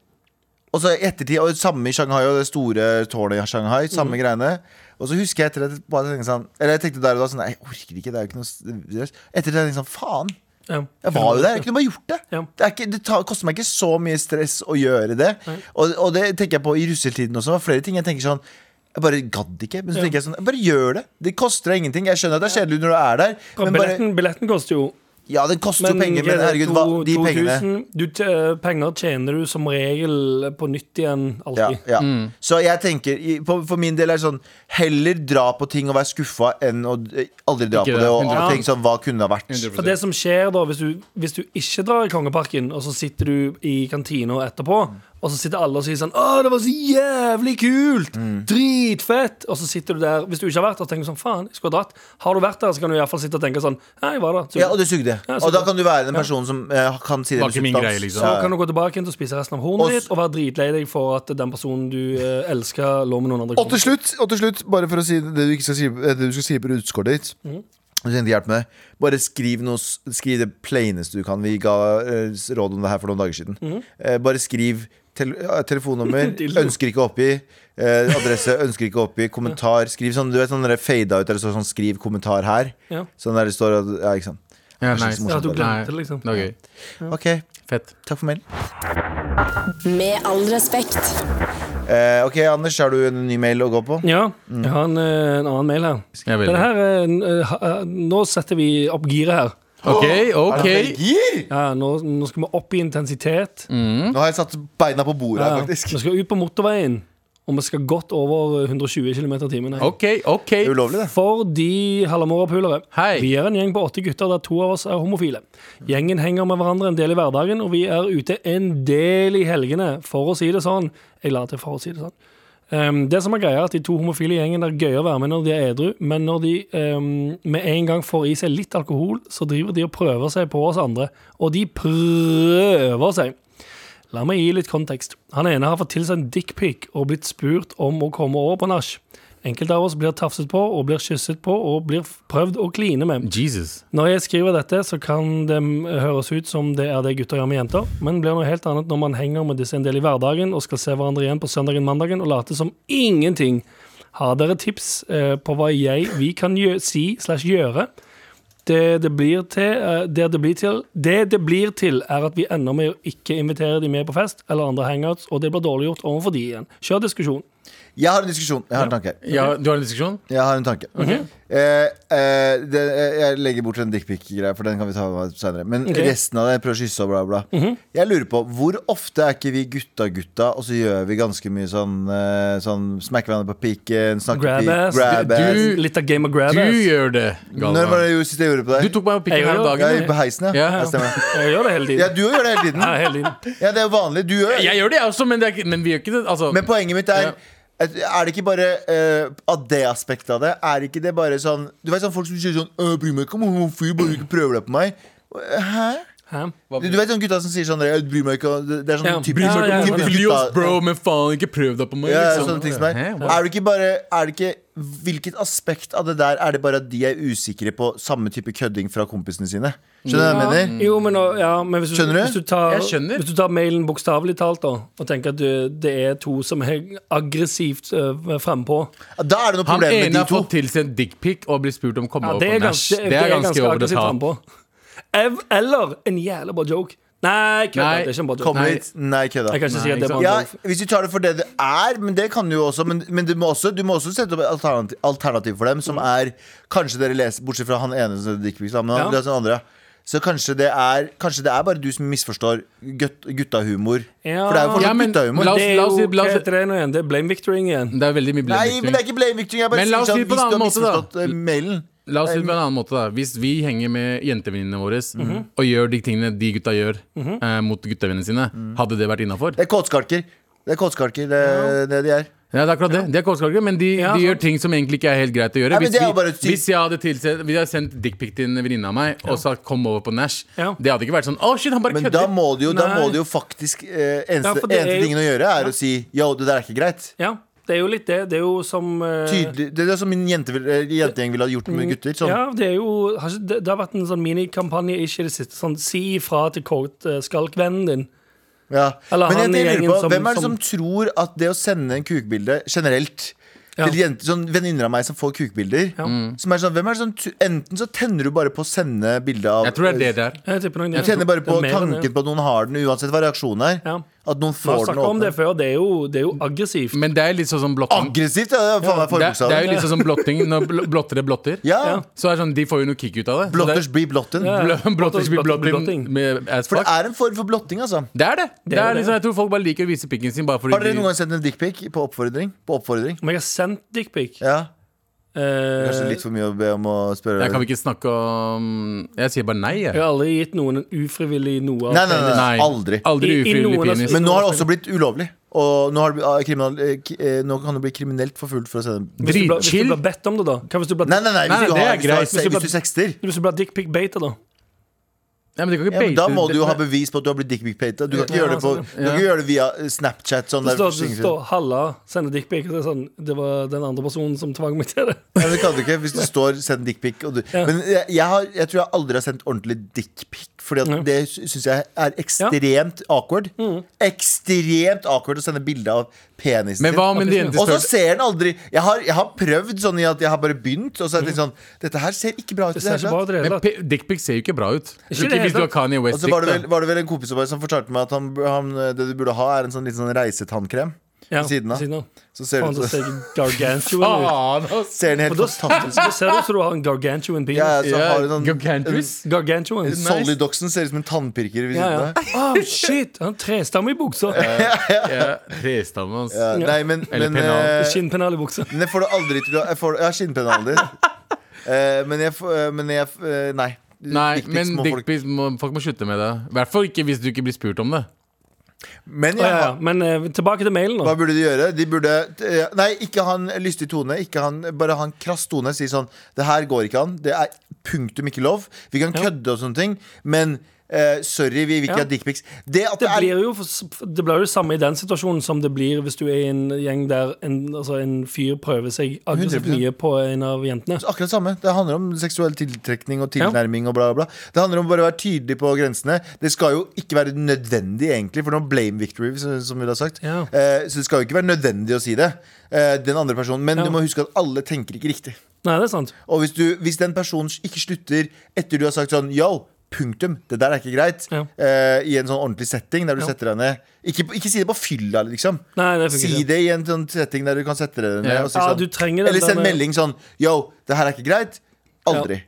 Og så i ettertid, og samme i Shanghai, og det store tårnet i
Mhm.
Shanghai, samme greiene. Og så husker jeg etter det, bare tenkte sånn, eller jeg tenkte der og da sånn, nei, jeg orker ikke, det er jo ikke noe, s- stress. etter det tenkte jeg sånn, faen.
Ja.
Jeg var jo der, jeg kunne bare gjort det.
Ja.
Det, er ikke, det tar, koster meg ikke så mye stress å gjøre det. Og, og det tenker jeg på i russetiden også. Det var flere ting jeg tenker sånn Jeg bare gadd ikke. Men så tenker jeg sånn, bare gjør det. Det koster deg ingenting. Jeg skjønner at det er kjedelig når du er der,
Ja,
men bare
Billetten, billetten koster jo
Ja, det koster jo penger, men
eh,
herregud, hva, de
to-
pengene
2000, du, t- eh, penger tjener du som regel på nytt igjen,
ja,
alltid.
ja.
Mm.
Så jeg tenker, i- på, for min del er det sånn Heller dra på ting og være skuffa enn å eh, aldri dra
Ikke
på
det,
det og, og
100%.
tenke sånn Hva kunne det ha vært?
100%.
For det som skjer da, hvis du, hvis du ikke drar i Kongeparken, og så sitter du i kantina etterpå, og så sitter alle og sier sånn 'Å, det var så jævlig kult!
Mm.
Dritfett!' Og så sitter du der, hvis du ikke har vært der, så tenker du sånn 'Faen, jeg skulle ha dratt'. Har du vært der, så kan du i hvert fall sitte og tenke sånn 'Ja, jeg var der'. Så,
Ja, og det sugde.
Ja,
Og da
sugde.
kan du være den personen som eh, kan si det
Var ikke min greie, liksom.
så
Ja, ja.
kan du gå tilbake inn og spise resten
Og
av hornet
s-
ditt og være dritlei deg for at den personen du eh, elsker, lå med noen andre.
Og til slutt, og til slutt bare for å si det du, ikke skal, si, det du skal si på utskåret ditt
Mhm.
Du trenger ikke hjelp med det. Bare skriv, noe, s- skriv det plaineste du kan. Vi ga eh, s- råd om det her for noen dager siden. Eh, bare skriv tel eh, telefonnummer,
Mhm. Dildo.
ønsker ikke å oppgi. eh, adresse, ønsker ikke å oppgi. Kommentar. Skriv sånn, du vet sånn der fada ut der det står sånn 'skriv kommentar her'.
Ja.
Sånn der det står at- Ja, ikke sant. Kanskje
Ja, nice.
ikke så
Ja,
morsomt,
du
da.
Nei,
glemte det, liksom.
det var gøy.
Ok,
Fett.
takk for mailen.
Med all respekt.
Eh, ok, Anders, har du en ny mail å gå på?
Ja,
Mm.
jeg har en, eh, en annen mail her.
Jeg
Denne
vil det.
her er en, eh, ha- eh, nå setter vi opp giret her.
OK, OK.
Gir!
Ja, nå, nå skal vi opp i intensitet.
Nå har jeg satt beina på bordet her,
Ja, vi
faktisk.
skal ut på motorveien, og vi skal godt over 120 km i timen. her.
OK, OK.
Det er ulovlig, det.
For de hallamorapulere.
Hei.
Vi er en gjeng på åtte gutter der to av oss er homofile. Gjengen henger med hverandre en del i hverdagen, og vi er ute en del i helgene, for å si det sånn. Jeg la til for å si det sånn. Ehm, det som er greia er at De to homofile i gjengen er gøy å være med når de er edru, men når de ehm, med en gang får i seg litt alkohol, så driver de og prøver seg på oss andre. Og de prøver seg. La meg gi litt kontekst. Han ene har fått til seg en dickpic og blitt spurt om å komme over på nach. Enkelte av oss blir tafset på og blir kysset på og blir f- prøvd å kline med.
Jesus.
Når jeg skriver dette, så kan det mm, høres ut som det er det gutter gjør med jenter, men blir noe helt annet når man henger med disse en del i hverdagen og skal se hverandre igjen på søndagen, mandagen og late som ingenting. Har dere tips eh, på hva jeg, vi kan gjø si slash gjøre? Det det blir til, eh, det det blir til Det det blir til, er at vi ender med å ikke invitere de med på fest eller andre hangouts, og det blir dårliggjort overfor de igjen. Kjør diskusjon.
Jeg har en diskusjon. Jeg har en tanke.
Ja, du har en diskusjon?
Jeg har en tanke. Eh, eh, det, eh, jeg legger bort den dickpic-greia, for den kan vi ta senere. Men
Ok.
resten av det, jeg prøver å kysse og bla, bla.
Mhm.
Jeg lurer på, hvor ofte er ikke vi gutta-gutta, og så gjør vi ganske mye sånn, eh, sånn smekke hverandre på pikken, snakke
Grab
pik,
ass.
grab
Du-
ass.
du-
Litt av Game of
Du
Grab-ass.
gjør det,
Når var
Galvan.
det jo sist jeg gjorde på
Du
deg?
tok meg på
Jeg
pikken her om
gjør det.
ja,
dagen.
på heisen, ja.
Ja, ja.
ja. stemmer.
Jeg gjør det hele
Ja,
tiden.
du gjør det hele tiden.
Ja, hele tiden.
Ja, det er jo vanlig. Du gjør det.
Jeg gjør det, jeg også, men, det er, ikke- men vi gjør ikke det. Altså,
Men poenget mitt er
Ja.
at- Er det ikke bare eh, av det aspektet av det? Er ikke det bare sånn Du vet sånn folk som sier sånn «Øh, 'Bry meg ikke om homofil, bare du ikke prøver deg på meg'. Hæ?
Hæ?
Du, du vet sånne gutta som sier sånn «Jeg 'Bry meg ikke' Det det er sånn
Ja,
typisk,
bry meg ikke om
typisk
homofil,
Filios,
gutta-
bro, men faen, ikke prøv deg på meg.
Ja,
liksom.
sånne ting som er.
Hæ, hva?
Er det ikke bare er det ikke, Hvilket aspekt av det der er det bare at de er usikre på samme type kødding fra kompisene sine? Skjønner du hva jeg mener?
Jo, men, nå- ja, men hvis, du,
Skjønner du?
Hvis du, tar,
Jeg skjønner.
hvis du tar mailen bokstavelig talt, da, og tenker at du, det er to som er aggressivt uh, frempå
Da er det noe
Han
problem med
ene
de
har
to.
fått tilsendt dickpic og blir spurt om å komme
ja,
over
det, er
på
ganske,
Nash. Det er ganske over the
aggressivt
top.
frempå. Ev, eller en jævla bra joke. Nei, kødda,
Nei,
det er ikke en bra joke.
Kommer
Nei.
hit. Nei, kødda.
Jeg kan ikke si at det er
Nei,
bare en
Ja,
joke.
hvis du tar det for det det er, men det kan du jo også. Men, men du, må også, du må også sette opp et alternativ, alternativ for dem, som er Kanskje dere leser, bortsett fra han ene som dickpics, men han,
Ja.
det er sånn andre. Så kanskje det, er, kanskje det er bare du som misforstår gutt, guttahumor.
Ja.
For det er jo fortsatt
Ja, men
guttahumor.
la oss-
Det er
la oss-
jo
la
hva
oss-
heter det nå igjen? Det er blame victoring igjen.
Det er veldig mye
Nei, men
blame
det er
victim.
ikke blamevicting. Jeg bare
Men la
sier
oss si
sånn,
det på
hvis du har
en annen måte, da.
misforstått eh, mailen
La oss si det på en annen måte, da. Hvis vi henger med jentevenninnene våre og gjør de tingene de gutta gjør eh, mot guttevennene sine, hadde det vært innafor?
Mhm. Det er kåtskalker. Det er kåtskalker, det, det de er.
Ja, det er akkurat det. De er kålskalkere, men de,
Ja,
de gjør
sant.
ting som egentlig ikke er helt greit å gjøre.
Nei, men
hvis,
det er jo bare et
vi,
sykt-
hvis jeg hadde tilsett, hvis jeg hadde sendt dickpic til en venninne av meg og sagt 'kom over på Nash',
Ja.
det hadde ikke vært sånn 'å, shit, han bare
Men da
kødder'.
må du jo, da
Nei.
må du jo faktisk eh, Eneste,
Ja, for det er
eneste
jo-
tingen å gjøre er å si yo, det der er ikke greit.
Ja, det er jo litt det. Det er jo som eh,
Tydelig, det er det som min jente, vil- eh, jentegjeng ville ha gjort med gutter. Sånn.
Mm, Ja, det, er jo, har ikke, det, det har vært en sånn minikampanje ikke i det siste. Sånn, si ifra til kortskalkvennen din.
Ja.
Eller
Men
han
jeg, jeg
i
lurer på,
gjengen som-
hvem er det som tror at det å sende en kukbilde generelt
Ja.
Til jenter, sånn Venninner av meg som får kukbilder.
Mm.
Som er sånn, hvem er det som, tu- enten så tenner du bare på å sende bilde av
Jeg tror det er det det er.
Jeg tipper nok det.
Du tenner bare
Det er
på
mer enn det.
tanken på at noen har den, uansett hva reaksjonen er.
Ja.
At noen
Vi har
får den
snakket om det
åpne.
før. Det er jo, det er jo aggressivt.
Men det er litt sånn som blotting.
Aggressivt, ja. Det er faen meg
Det, det er jo
forbokstaven.
litt sånn som blotting når bl- blottere blotter.
Ja.
Så er det sånn, de får jo noe kick ut av det. Så
Blotters blir blotten.
det er-
Ja.
bl- Blotters blir
Blotter blir
blotting
blotting.
med as
For
fuck.
det er en form for blotting, altså.
Det er det. det,
er
er
det.
liksom, jeg tror folk bare liker å vise pikken sin bare fordi
Har dere
de-
noen gang sendt en dickpic på oppfordring? På oppfordring?
Om jeg har sendt dickpic
Ja. Kanskje
eh,
litt for mye å be om å spørre
Jeg kan vel ikke snakke om Jeg sier bare nei, jeg.
Jeg har aldri gitt noen en ufrivillig noe. av
Nei, nei, nei,
penis.
nei.
Nei.
Aldri.
Aldri
I- i noen
ufrivillig
av-
penis.
Men nå har det også blitt ulovlig. Og nå, har det, blitt- eh, kriminal, eh, k- eh, nå kan du bli kriminelt forfulgt for å sende dem.
Hvis du blir- Hvis
Dritchill.
du blir bedt om det, da? Hva hvis du blir,
Nei, nei, nei,
Nei,
hvis du,
det
har,
er
hvis du, har,
greit,
se- hvis du sekster.
Hvis du blir dickpic-beta, da?
Ja, men du kan ikke
Ja, men da
bate-
må du jo ha
Nei.
bevis på at du har blitt dickpic-pata. Du kan ikke
Ja,
gjøre det på
sånn,
Du kan ikke gjøre det via eh, Snapchat. Sånn der,
Det står, det
forsikringsfri.
står 'halla, sender dickpic'. og så er det Sånn, det var den andre personen som tvang meg til det.
Nei, det kan du ikke hvis det står 'send dickpic'. og du- Men jeg, jeg, har, jeg tror jeg aldri har sendt ordentlig dickpic, Fordi at det syns jeg er ekstremt awkward. Ekstremt awkward å sende bilde av penisen
Men
sin.
hva om en jente
Og så
spør
ser den aldri jeg har, jeg har prøvd sånn i at jeg har bare begynt, og så er det sånn Dette her ser ikke bra ut. i
Det
det
ser
hele tatt.
ikke bra ut i det hele
Men
tatt.
pe- dickpic ser jo ikke bra ut.
Ikke
Ikke
det
hvis du har
helt
Kanye
Og
West
så var det,
dick.
vel, var det vel en kompis av meg som fortalte meg at han, han, det du burde ha, er en sånn liten sånn reisetannkrem.
Ja,
ved siden av. Så ser
Faen,
du
så
ut som-
ser jeg gargantuan ut.
Faen, ass.
ser den helt
Og da
fantastisk
da ser det ut som du har en gargantuan penis.
Ja, så
Ja,
har du sånn
Gargantus.
Gargantuan.
Solidoxen ser ut som en tannpirker ved
Ja,
siden
ja.
av.
Oh, shit! Han har trestamme i buksa.
Ja, Trestamme, ass.
Ja, nei, men,
Eller
men
pennal.
eh,
Skinnpennal i buksa.
men jeg får det aldri til å Jeg, får, jeg har skinnpennaler. Eh, men jeg får eh, Men jeg eh, Nei.
Nei,
Dickpics
men
må folk-
dickpics må- Folk må slutte med det. I hvert fall ikke hvis du ikke blir spurt om det.
Men
Ja,
jeg,
ja.
har-
Men eh, tilbake til mailen,
hva
da.
burde de gjøre? De burde eh, Nei, ikke ha en lystig tone. Ikke ha en, bare ha en krass tone. Si sånn Det her går ikke an. Det er punktum ikke lov. Vi kan kødde og sånne ting, men eh, sorry, vi vil ikke ha
Ja.
dickpics. Det at
Det
det er
blir jo for- det blir jo det samme i den situasjonen som det blir hvis du er i en gjeng der en, altså en fyr prøver seg aggressivt
100%.
mye på en av jentene.
akkurat samme. Det handler om seksuell tiltrekning og tilnærming og bla, bla. bla. Det handler om bare å være tydelig på grensene. Det skal jo ikke være nødvendig, egentlig, for noe blame victory, som som vi har sagt.
Ja.
Eh, så det skal jo ikke være nødvendig å si det, eh, den andre personen. Men
Ja.
du må huske at alle tenker ikke riktig.
Nei, det er sant.
Og hvis, du, hvis den personen ikke slutter etter du har sagt sånn Yo, Punktum. Det der er ikke greit.
Ja.
Eh, I en sånn ordentlig setting der du
Ja.
setter deg ned. Ikke, ikke si det på fylla, liksom.
Nei, det
Si
funker ikke.
det i en sånn setting der du kan sette deg ned.
Ja.
Og si
Ja,
sånn,
du trenger den
eller send
der-
melding sånn Yo, det her er ikke greit. Aldri.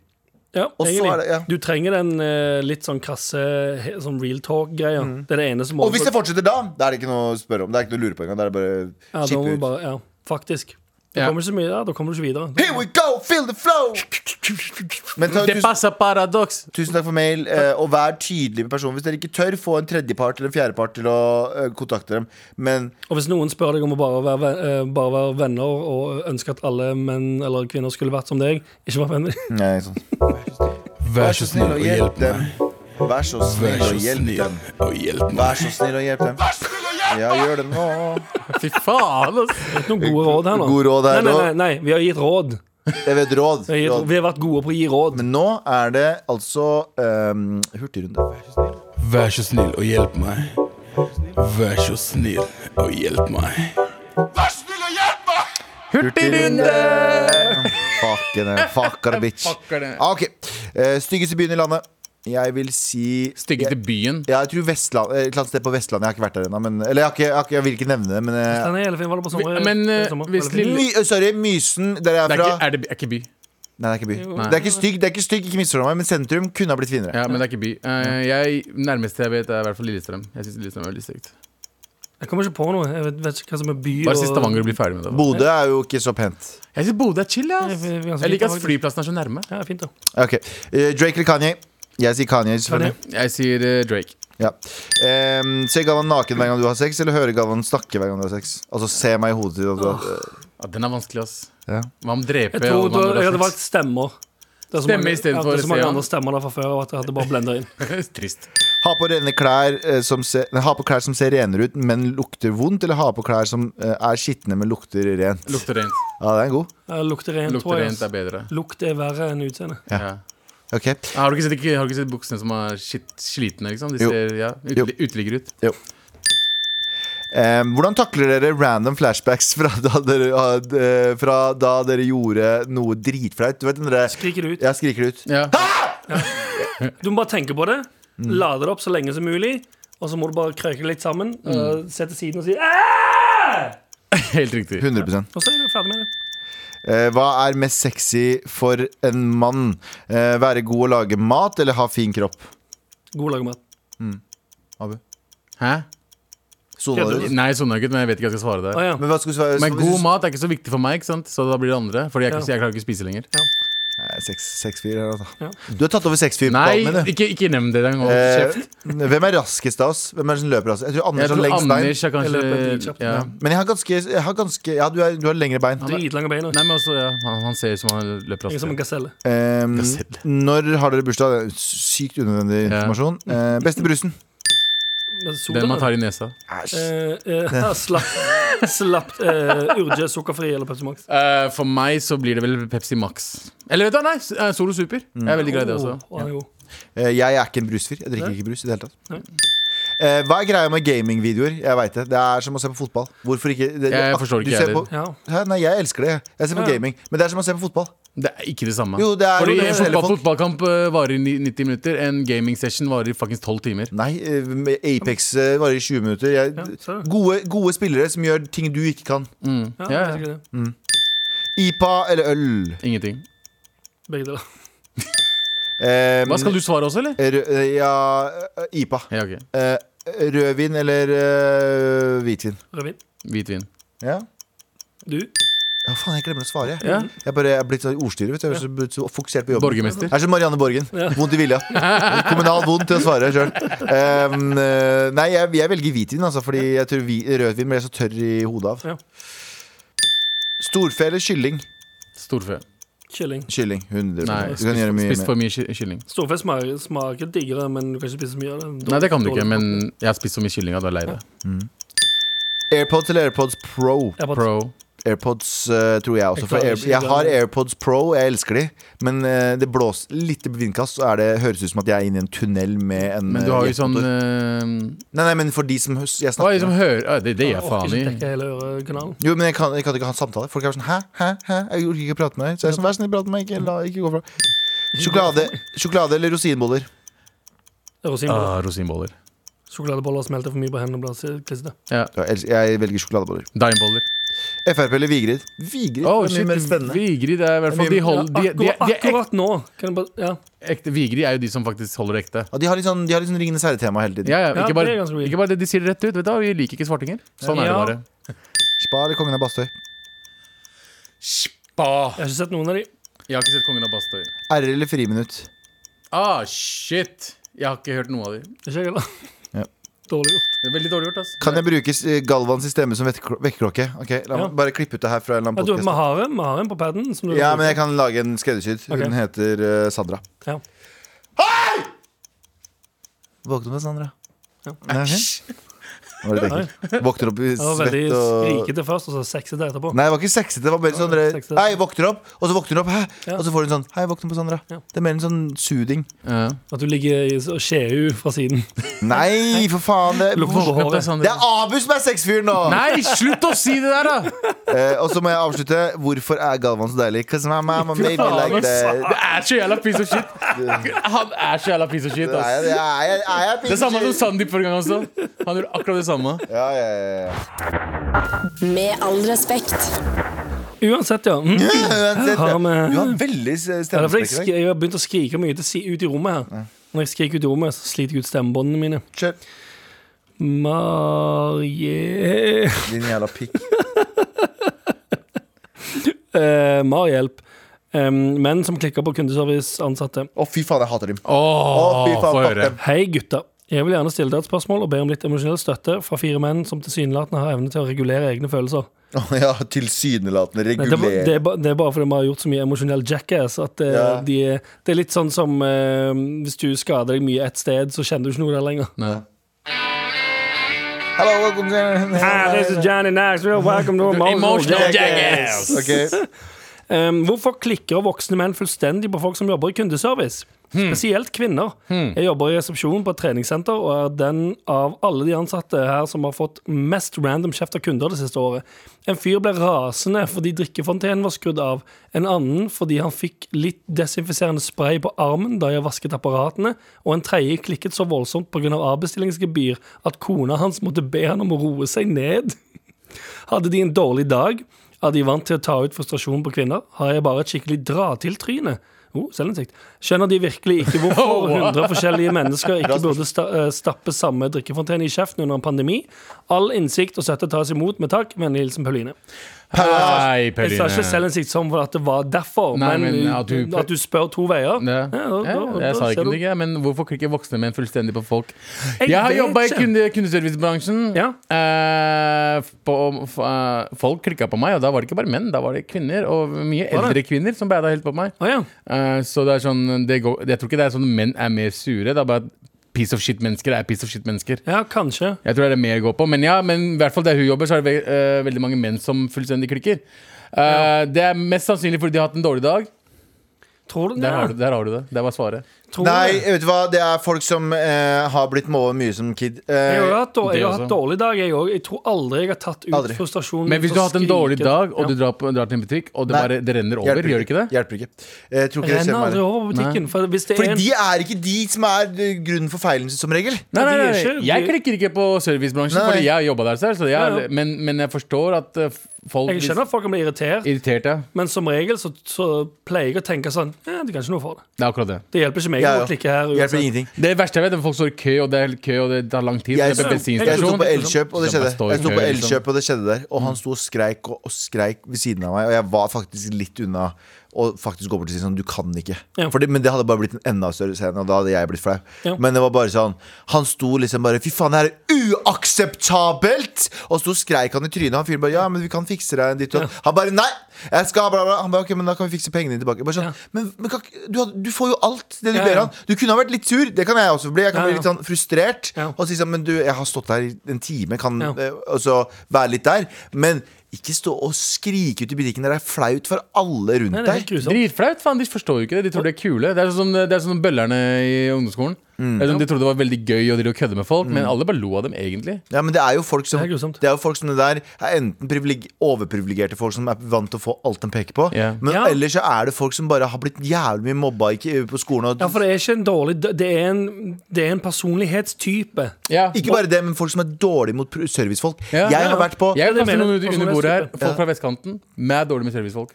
Ja,
Og så
egentlig.
er det- ja.
Du trenger den eh, litt sånn krasse he- sånn real talk-greia. Det er det eneste
Mm. Og hvis det fortsetter da, da er det ikke noe å spørre om. Det er ikke noe å lure på engang. Det er bare
ja, da må
chippe
vi
ut.
bare, ja, faktisk. Det
Ja.
kommer ikke så mye, ja, da kommer du ikke videre.
Here we go, feel the flow! Men ta,
Det
tusen,
passer paradoks!
tusen takk for mail, eh, og vær tydelig med personen. Hvis dere ikke tør, få en tredjepart eller en fjerdepart til å eh, kontakte dem. Men
Og hvis noen spør deg om å bare være, ven- eh, bare være venner og ønske at alle menn eller kvinner skulle vært som deg, ikke være venner.
nei, sånn.
Vær så snill og hjelp meg.
Vær så
Vær
snill
så
og hjelp
snill
dem.
og hjelp meg.
Vær så snill og hjelp dem. Ja, gjør det nå.
Fy faen, ass.
Noen gode råd her nå.
Gode råd her
nei,
nå.
nei, nei, nei, vi har gitt råd.
Jeg vet råd.
Vi har, gitt,
råd.
vi har vært gode på å gi råd.
Men nå er det altså ehm, hurtigrunde.
Vær så snill og hjelp meg. Vær så snill og hjelp meg.
Fuckene, fucker bitch.
Fucker det.
Ah, Ok. Eh, styggeste byen i landet. Jeg vil si
Styggeste byen.
Ja, jeg tror Vestland, eh, et eller annet sted på Vestlandet. Jeg har ikke vært der ennå. men- Eller jeg, har ikke, jeg, har ikke, jeg vil ikke nevne det, men eh,
Den er hele fin, var det på sommer?
Vi- men,
på
eh,
sommer?
hvis
Var det fin?
lille-
my, Sorry, Mysen, der jeg
Det
er
er
fra.
ikke, er det, by- er ikke by.
Nei, det er ikke by.
Nei.
Det er ikke stygg, det er ikke, stygg, ikke misforstå meg, men sentrum kunne ha blitt finere.
Ja, men det er ikke by. Eh, jeg, nærmeste jeg vet, er i hvert fall Lillestrøm. Jeg synes Lillestrøm er veldig stygt.
Jeg kommer ikke på noe. Jeg vet, vet ikke hva som er by
Bare si Stavanger blir ferdig med det.
Bodø er jo ikke så pent.
Jeg synes Bodø er chill,
Nei,
ass.
vi- vi er ganske
Jeg liker at
like,
flyplassen er så nærme.
Ja, fint da.
Ok, eh, Drake eller Kanye? Jeg sier Kanye, selvfølgelig.
Jeg sier eh, Drake.
Ja. Ehm, se Galvan naken hver gang du har sex, eller høre Galvan snakke hver gang du har sex? Altså, se meg i hodet til at du har
Ja, den er vanskelig, ass.
ja.
Hva om drepe
Jeg tror
alle
du,
andre
jeg hadde
rasist?
valgt stemmer. Det er så
Stemme
mange-
i stedet
ja,
for
Det er så mange
Stian.
andre stemmer der fra før og at jeg hadde bare blenda inn.
Trist.
Ha på rene klær eh, som ser, nei, Ha på klær som ser renere ut, men lukter vondt, eller ha på klær som eh, er skitne, men lukter rent?
Lukter rent.
Ja, det er en god.
Eh, Lukter rent, tror
Lukter
jeg.
rent
ass.
er bedre.
Lukt er verre enn utseende.
Ja.
Ja.
Ok.
Har, du ikke sett, ikke, har du ikke sett buksene som er shit, slitne, liksom? De
Jo.
ser ja,
Jo.
utelig- uteligger ut.
Eh, hvordan takler dere random flashbacks fra da dere, had- eh, fra da dere gjorde noe dritflaut? Du vet den derre
Skriker det ut.
Jeg skriker det ut.
Ja.
Du må bare tenke på det.
Mm.
Lade det opp så lenge som mulig. Og så må du bare krøke litt sammen. eh,
Mm.
se til siden og si «Æ!»
Helt riktig.
100
Og så er du ferdig med det.
Eh, Hva er mest sexy for en mann? Eh, være god å lage mat eller ha fin kropp?
God lagemat.
Abu?
Hæ?
Sona
Kødder
du?
du?
Nei, jeg sovna ikke ut, men jeg vet ikke hva jeg skal svare
Å
der.
ja.
Men hva skal du svare?
Men god mat er ikke så viktig for meg, ikke sant? så da blir det andre. Fordi jeg,
Ja.
jeg klarer ikke å spise lenger.
Nei, seks- seks fyr her, altså.
Ja.
Du har tatt over seks fyr på
Nei,
palmen, du.
ikke, ikke nevn det engang.
Eh,
Kjeft.
hvem er raskest av oss? Hvem er sånn det som løper raskest? Jeg tror
Jeg
Anders har
tror
lengst bein.
Anders er
Jeg løper litt
kanskje
kjapt,
ja.
ja.
Men jeg har ganske, jeg har ganske Ja, du, er, du har lengre bein.
Dritlange bein.
Nei, men også, ja. han, han ser ut som han løper
Ingen som en
raskt.
gaselle.
Ehm,
Gasell.
når har dere bursdag? Det er Sykt unødvendig
Ja.
informasjon. Eh, beste brusen?
Men soda,
Den man tar i nesa.
Æsj.
eh, eh, slapp slapp eh, Urge, sukkerfri eller Pepsi Max.
Eh, for meg så blir det vel Pepsi Max. Eller vet du hva, nei, s- eh, Solo Super. Jeg er veldig glad i det også.
Å, han er god.
Eh, jeg er ikke en brusfyr. Jeg drikker ikke brus i det hele tatt. Eh, hva er greia med gamingvideoer? Jeg vet det. Det er som å se på fotball. Hvorfor ikke? Det, det-
Jeg
ak-
forstår ikke
du ser
jeg
på-
Ja.
Hæ? Nei, jeg elsker det. Jeg ser på
Ja.
gaming. Men det er som å se på fotball.
Det er ikke det samme.
Jo, det er-
Fordi
jo, det er
en
forskjellige
fotball,
folk.
fotballkamp eh, varer i ni- 90 minutter, en gaming session varer faktisk 12 timer.
Nei, eh, med Apex eh, varer i 20 minutter. Jeg,
Ja, ser du.
gode, gode spillere som gjør ting du ikke kan.
Mm.
Ja,
Ja,
det er
ja.
sikkert det.
IPA eller øl?
Ingenting.
Begge deler.
Eh,
Hva Skal du svare også, eller?
rø- eh, ja, eh, IPA.
Ja, ok.
Eh, rødvin eller eh, hvitvin?
Rødvin.
Hvitvin.
Ja.
Du?
ja, faen, jeg glemmer å svare. jeg.
Ja.
Jeg bare jeg er blitt så ordstyrer. vet du. Jeg er så, blitt så fokusert på jobben.
Borgermester.
Jeg er som Marianne Borgen. Vondt i vilja. Kommunal vondt til å svare sjøl. nei, jeg, jeg velger hvitvin, altså, fordi jeg tror vi, rødvin ble jeg så tørr i hodet av.
Ja.
Storfe eller kylling?
Storfe.
Kylling.
Kylling. 100
Nei,
Du kan gjøre mye
spist
mer.
for mye ky- kylling.
Storfe smaker, smaker diggere, men du kan ikke spise så mye av det. Dårlig-
Nei, det kan du
dårlig
ikke, men jeg har spist så mye kylling at jeg er lei det.
Mm. AirPods eller AirPods Pro?
Jeg bare-
Pro.
AirPods eh, tror jeg også.
Jeg
For
klarer
Air,
ikke
jeg har
det.
AirPods Pro, jeg elsker de. Men eh, det blåser litt vindkast, så er det, høres ut som at jeg er inne i en tunnel med en
Men du
eh,
har jo sånn
jetmotor.
eh,
Nei, nei, men for de som hø- jeg
Hva er
snakker
det som
med.
hører ah, Det det gir jeg
orker
faen i.
ikke dekke hele ørekanalen.
Jo, men jeg kan, jeg kan ikke ha en samtale. Folk er sånn hæ, hæ, hæ? Jeg orker ikke prate med deg. Så jeg er sånn, vær snill, prat med meg. Ikke, la, ikke gå fra. Sjokolade, sjokolade eller rosinboller?
Rosinboller.
Ah, rosinboller.
Sjokoladeboller smelter for mye på hendene og blir klissete.
Ja.
Jeg elsker- Jeg velger sjokoladeboller.
Daimboller.
Frp eller Vigrid? Vigrid
Oh,
er mye mer spennende.
Vigrid er i hvert fall de hold, de, de, de,
Akkurat,
de er ekte,
akkurat nå kan jeg bare, ja.
ekte, Vigrid er jo de som faktisk holder det ekte.
Ja, de har litt sånn, de har litt sånn Ringenes herre-tema hele tiden.
Ja, ja,
Ja,
ikke,
det er
bare,
ganske weird.
ikke bare det, de sier det rett ut. Vet du, hva, Vi liker ikke svartinger. Sånn er det
Ja.
bare.
Spa eller Kongen av Bastøy?
Spa.
Jeg har ikke sett noen av de.
Jeg har ikke sett Kongen av Bastøy.
R eller Friminutt?
Ah, shit! Jeg har ikke hørt noe av dem.
Ikke jeg heller.
Ja.
Dårlig gjort.
Det er Veldig dårlig gjort. ass
Kan jeg bruke eh, Galvans stemme som vekkeklo- vekkerklokke? Ok, la meg
Ja.
Bare klippe ut det her fra en eller
Ja, du,
annen
vi
podcast.
har en, vi har en på paden. Som du
Ja, men jeg kan lage en skreddersydd.
Ok.
Hun heter eh, Sandra.
Ja.
Våkne med Sandra.
Ja.
Nei, ok. Var det
Nei.
ekkelt? Våkner opp i
Det var veldig
svett og
skrikete først, og så sexete etterpå.
Nei, det var ikke sexete. Det var mer sånn dere-
sexete.
Hei, våkner opp, og så våkner du opp, hæ?
Ja.
Og så får du en sånn Hei, våkne på Sandra.
Ja.
Det er mer en sånn suding.
Ja.
At du ligger i og skjeer ut fra siden.
Nei, for faen. Det,
Lukter på
Vent da,
håret.
Sander.
det er Abu som er sexfyren nå!
Nei, slutt å si det der, da!
Eh, og så må jeg avslutte. Hvorfor er Galvan så deilig? 'Cause my mama made me like that.
Det er så jævla piece of shit. Han er så jævla piece of shit.
Er jeg,
Ass.
er jeg, er jeg
Det samme som Sandeep forrige gang også. Han gjorde akkurat det samme.
Ja, ja, ja, ja.
Med all respekt.
Uansett, ja. Mm.
Uansett,
Har vi-
Du har veldig
Ja, det er fordi jeg,
stemmespekk.
skri- jeg har begynt å skrike mye til si ut i rommet her. Når jeg skriker ut i rommet, så sliter jeg ut stemmebåndene mine.
Kjør.
Marje...
Din jævla pikk.
Eh, Marhjelp. Em, menn som klikker på kundeserviceansatte.
Å, fy faen, jeg hater dem. Å,
Åh,
fy faen,
få
fuck
høre.
dem.
Hei, gutta. Jeg vil gjerne stille deg et spørsmål og be om litt emosjonell støtte fra fire menn som tilsynelatende har evne til å regulere egne følelser.
Å, ja, tilsynelatende
Nei, det, er ba- det,
reguler.
er ba, det er bare fordi vi har gjort så mye emosjonell jackass. At det,
Ja.
de, er- det er litt sånn som eh, hvis du skader deg mye et sted, så kjenner du ikke noe der lenger.
Nei.
Hallo, welcome to-
Ah, Johnny Knoxville. Welcome to
Emotional jackass!
Ok.
Ehm, hvorfor klikker voksne menn fullstendig på folk som jobber i kundeservice? Spesielt kvinner. Jeg jobber i resepsjon på et treningssenter og er den av alle de ansatte her som har fått mest random kjeft av kunder det siste året. En fyr ble rasende fordi drikkefontenen var skrudd av. En annen fordi han fikk litt desinfiserende spray på armen da jeg vasket apparatene. Og en tredje klikket så voldsomt pga. avbestillingsgebyr at kona hans måtte be han om å roe seg ned. Hadde de en dårlig dag? Er de vant til å ta ut frustrasjon på kvinner? Har jeg bare et skikkelig dra-til-tryne? Oh, selvinnsikt. Skjønner de virkelig ikke hvorfor 100 forskjellige mennesker ikke burde sta eh, stappe samme drikkefontene i kjeften under en pandemi? All innsikt og støtte tas imot med takk. Vennlig hilsen Pauline.
Hei,
Jeg sa ikke
Pauline.
selvinnsikt som for at det var derfor,
Nei,
men,
men
at,
at du-
du, spør to veier.
Ja.
da-
Ja,
da- da
jeg sa
ser
ikke
du-
det, ikke, men hvorfor klikker voksne menn fullstendig på folk?
Jeg
Jeg har
vet
jobba i
ikke.
kunde, kundeservicebransjen.
Ja.
Eh, f- på, f, eh, folk klikka på meg, og da var det ikke bare menn, da var det kvinner. Og mye
Var
eldre kvinner som beida helt på meg.
Å ja.
Eh, så det er sånn det går, Jeg tror ikke det er sånn menn er mer sure. Det er bare at piece of shit-mennesker er piece of shit-mennesker.
ja, kanskje.
Jeg tror det er det mer å gå på. Men ja, men i hvert fall der hun jobber, så er det ve eh, veldig mange menn som fullstendig klikker. Eh, Det er mest sannsynlig fordi de har hatt en dårlig dag.
Tror du
Der har du, der har du det. Det var svaret.
Tror du
Nei,
det?
vet du hva? Det er folk som eh, har blitt målet mye som kid. Eh,
Jeg har hatt, dår- jeg
det
har hatt
også.
dårlig dag, jeg òg. Jeg tror aldri jeg har tatt ut
Aldri.
frustrasjonen.
Men hvis
ut
du
og
har hatt en dårlig
skriket.
dag, og
Ja.
du drar, på, drar til en butikk, og det,
Nei.
bare, det renner over, gjør det ikke det?
Hjelper ikke. Eh, Jeg tror ikke det
Jeg
skjer
renner
med
aldri
meg.
over på butikken. For hvis det er
Fordi
en,
de er ikke de som er eh, grunnen for feilen, som regel.
Nei, nei,
de er
nei,
ikke-
Jeg
de-
klikker ikke på servicebransjen,
Nei.
fordi jeg har jobba der selv. Så jeg,
Ja, ja.
Men, men jeg forstår at eh, folk
jeg skjønner at folk kan bli irritert,
blir irritert. Ja.
men som regel så, så pleier jeg å tenke sånn Ja, det kan ikke noe for det.
Det er akkurat det.
Det hjelper ikke meg
Ja, ja.
å klikke her.
Hjelper
uansett.
ingenting.
Det verste jeg vet, er at folk står i kø, og det er kø, og det tar lang
Jeg
tid. det er
sto- Jeg sto
bensinstasjon.
på Elkjøp, og det
Skal
skjedde.
bare stå i
Jeg sto
kø,
på
liksom.
Elkjøp, og det skjedde der. Og han sto og skreik og, og skreik ved siden av meg, og jeg var faktisk litt unna. Og faktisk gå bort og si sånn, du kan ikke.
Ja.
Fordi, men det hadde bare blitt en enda større scene, og da hadde jeg blitt flau.
Ja.
Men det var bare sånn, han sto liksom bare Fy faen, det her er uakseptabelt! Og så skreik han i trynet. Han fyren bare ja, men vi kan fikse deg en ditt og datt». Han bare nei! Jeg skal ha bla, bla. Han bare ok, men da kan vi fikse pengene dine tilbake. Jeg Bare sånn, men, men kan, ikke- du, hadde- du får jo alt det du
Ja,
ber
ja.
om. Du kunne ha vært litt sur, det kan jeg også bli. Jeg kan
Ja,
bli
ja.
litt sånn frustrert
Ja.
og si sånn Men du, jeg har stått her i en time, kan
Ja.
eh, altså være litt der. Men ikke stå og skrike ut i butikken. Det er flaut for alle rundt
Nei, det er helt
deg.
grusomt.
Dritflaut. faen, De forstår jo ikke det. De tror de er kule. Det er sånn, det er sånn bøllerne i ungdomsskolen.
Mm.
Det er sånn, De trodde det var veldig gøy å drive og kødde med folk, men alle bare lo av dem, egentlig.
Ja, men det er jo folk som
Det er grusomt.
Det er jo folk som det der er enten privileg, overprivilegerte folk som er vant til å få alt de peker på,
Ja.
men
Ja.
ellers så er det folk som bare har blitt jævlig mye mobba ikke, på skolen. Og,
Ja, for det er ikke en dårlig Det er en, det er en personlighetstype.
Ja.
ikke bare det, men folk som er dårlige mot pr- servicefolk.
Ja,
jeg
ja,
har vært på
Jeg
Ja, det
traff
mener
noen
jeg.
under- under
Personlig
bordet her.
type.
Folk fra vestkanten. Med dårlig med servicefolk.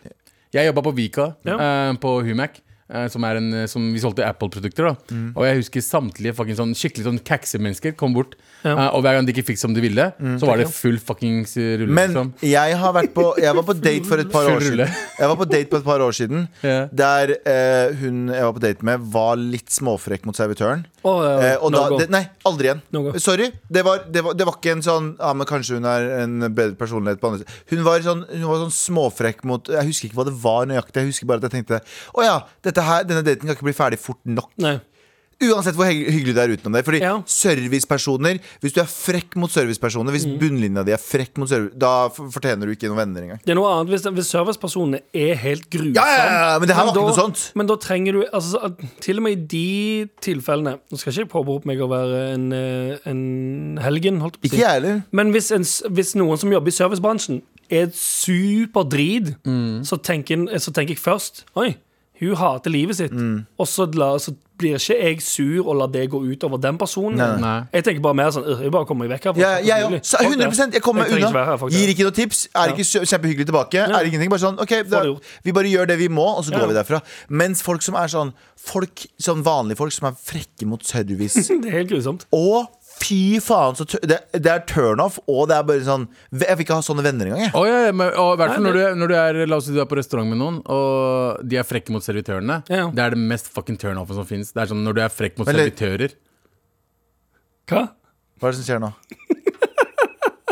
Jeg jobba på Vika,
Ja.
eh, på Humac. eh, Som, er en, eh, som vi solgte Apple-produkter. da
Mm.
Og jeg husker samtlige fucking sånn, skikkelig sånn kækse-mennesker kom bort.
Ja.
eh, og hver gang de ikke fikk som de ville,
Mm.
så var det full fuckings eh, rulle.
Men
liksom.
jeg har vært på Jeg var på date for et par år
Full
siden
rulle.
Jeg var på date på et par år siden
Ja.
Der eh, hun jeg var på date med Var litt småfrekk mot servitøren
Og,
Eh, og
no
da,
go.
det, nei, aldri igjen.
No go.
Sorry. Det var, det, var, det var ikke en sånn Ja, men kanskje hun er en bedre personlighet på andre siden. Hun var sånn, hun var sånn småfrekk mot Jeg husker ikke hva det var nøyaktig. Jeg husker bare at jeg tenkte Å ja, dette her, denne daten kan ikke bli ferdig fort nok.
Nei.
Uansett hvor hy- hyggelig det er utenom det. Fordi
Ja.
servicepersoner Hvis du er frekk mot servicepersoner, hvis
Mm.
bunnlinja di er frekk mot service, da f- fortjener du ikke noen venner engang.
Det er noe annet hvis, hvis servicepersonene er helt grusomme.
Ja, ja, ja, ja, men det her var ikke
da-
noe sånt.
Men da trenger du altså, at- Til og med i de tilfellene Nå skal ikke jeg påberope meg å være en, eh, en helgen, holdt jeg på
Ikke
å si.
jeg heller.
Men hvis, en, s- hvis noen som jobber i servicebransjen, er superdrid,
Mm.
så, tenker, en- så tenker jeg først Oi, hun hater livet sitt.
Mm.
Og så, la, så blir ikke jeg sur og lar det gå ut over den personen.
Nei,
nei. Nei.
Jeg tenker bare mer sånn «Øh, Jeg bare kommer meg vekk herfra.
Ja, ja, ja.
Fuck det.
Så 100 Jeg kommer meg
trenger ikke
unna.
være her, fuck det.
Gir ikke noe tips. Er ikke så- kjempehyggelig tilbake. Er det ingenting. Bare sånn, ok, da,
det gjort.
Vi bare gjør det vi må, og så
Ja.
går vi derfra. Mens folk som er sånn Folk, sånn vanlige folk som er frekke mot service
Det er helt grusomt.
Og fy faen, så tø- det, det er turnoff, og det er bare sånn Jeg vil ikke ha sånne venner engang, jeg.
Å, ja, ja, men, og, i hvert fall
Nei,
når, du, når du er La oss si du er på restaurant med noen, og de er frekke mot servitørene.
Ja, ja.
Det er det mest fucking turnoffen som fins. Det er sånn når du er frekk mot
Men det-
servitører.
Hva?
Hva er det som skjer nå?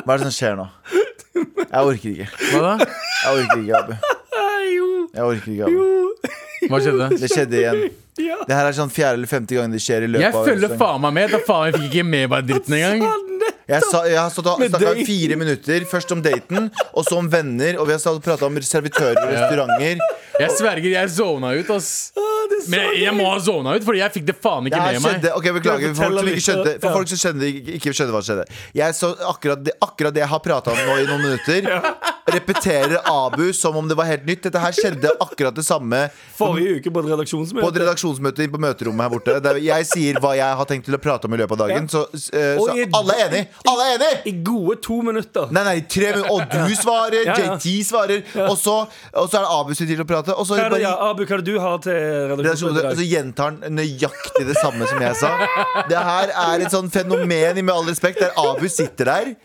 Hva er det som skjer nå? Jeg orker ikke.
Hva da?
Jeg orker ikke, Abu.
Jo,
Jeg orker ikke, Abu.
Hva skjedde?
Det skjedde igjen.
ja.
Det her er sånn fjerde eller femte gang det skjer i løpet
Jeg
av en
følger
sesong.
faen meg med. Da faen jeg fikk ikke med meg dritten
Altså,
engang.
Sånn.
Jeg, sa, jeg har stått og
Med
snakka i
date.
fire minutter. Først om daten, og så om venner. Og vi har prata om servitører og restauranter.
Jeg sverger, jeg zona ut, ass. Men jeg, jeg må ha zona ut, Fordi jeg fikk det faen
Det
ikke
her
med meg.
skjedde, ok, Beklager,
Jeg
for folk som
forteller
ikke skjønte,
litt,
for
ja.
folk som skjønner, ikke, ikke skjønner hva som skjedde. Jeg så akkurat det, akkurat det jeg har prata om nå i noen minutter, repeterer Abu som om det var helt nytt. Dette her skjedde akkurat det samme
Forrige uke på et
på et
redaksjonsmøte.
redaksjonsmøte på møterommet her borte. Der jeg sier hva jeg har tenkt til å prate om i løpet av dagen, så, eh,
Og
så
i-
alle er enig! Alle er enig!
I gode to minutter.
Nei, nei, tre minutter Og du svarer,
Ja, ja.
JT svarer Og så, og så er det Abu som sitter og prater Og så,
Hva er det,
bare, altså,
ja, Abu, hva er det du har til redaksjonsmøte i
og så
dag?
gjentar han nøyaktig det samme som jeg sa Det her er et sånn fenomen i Med all respekt, der Abu sitter der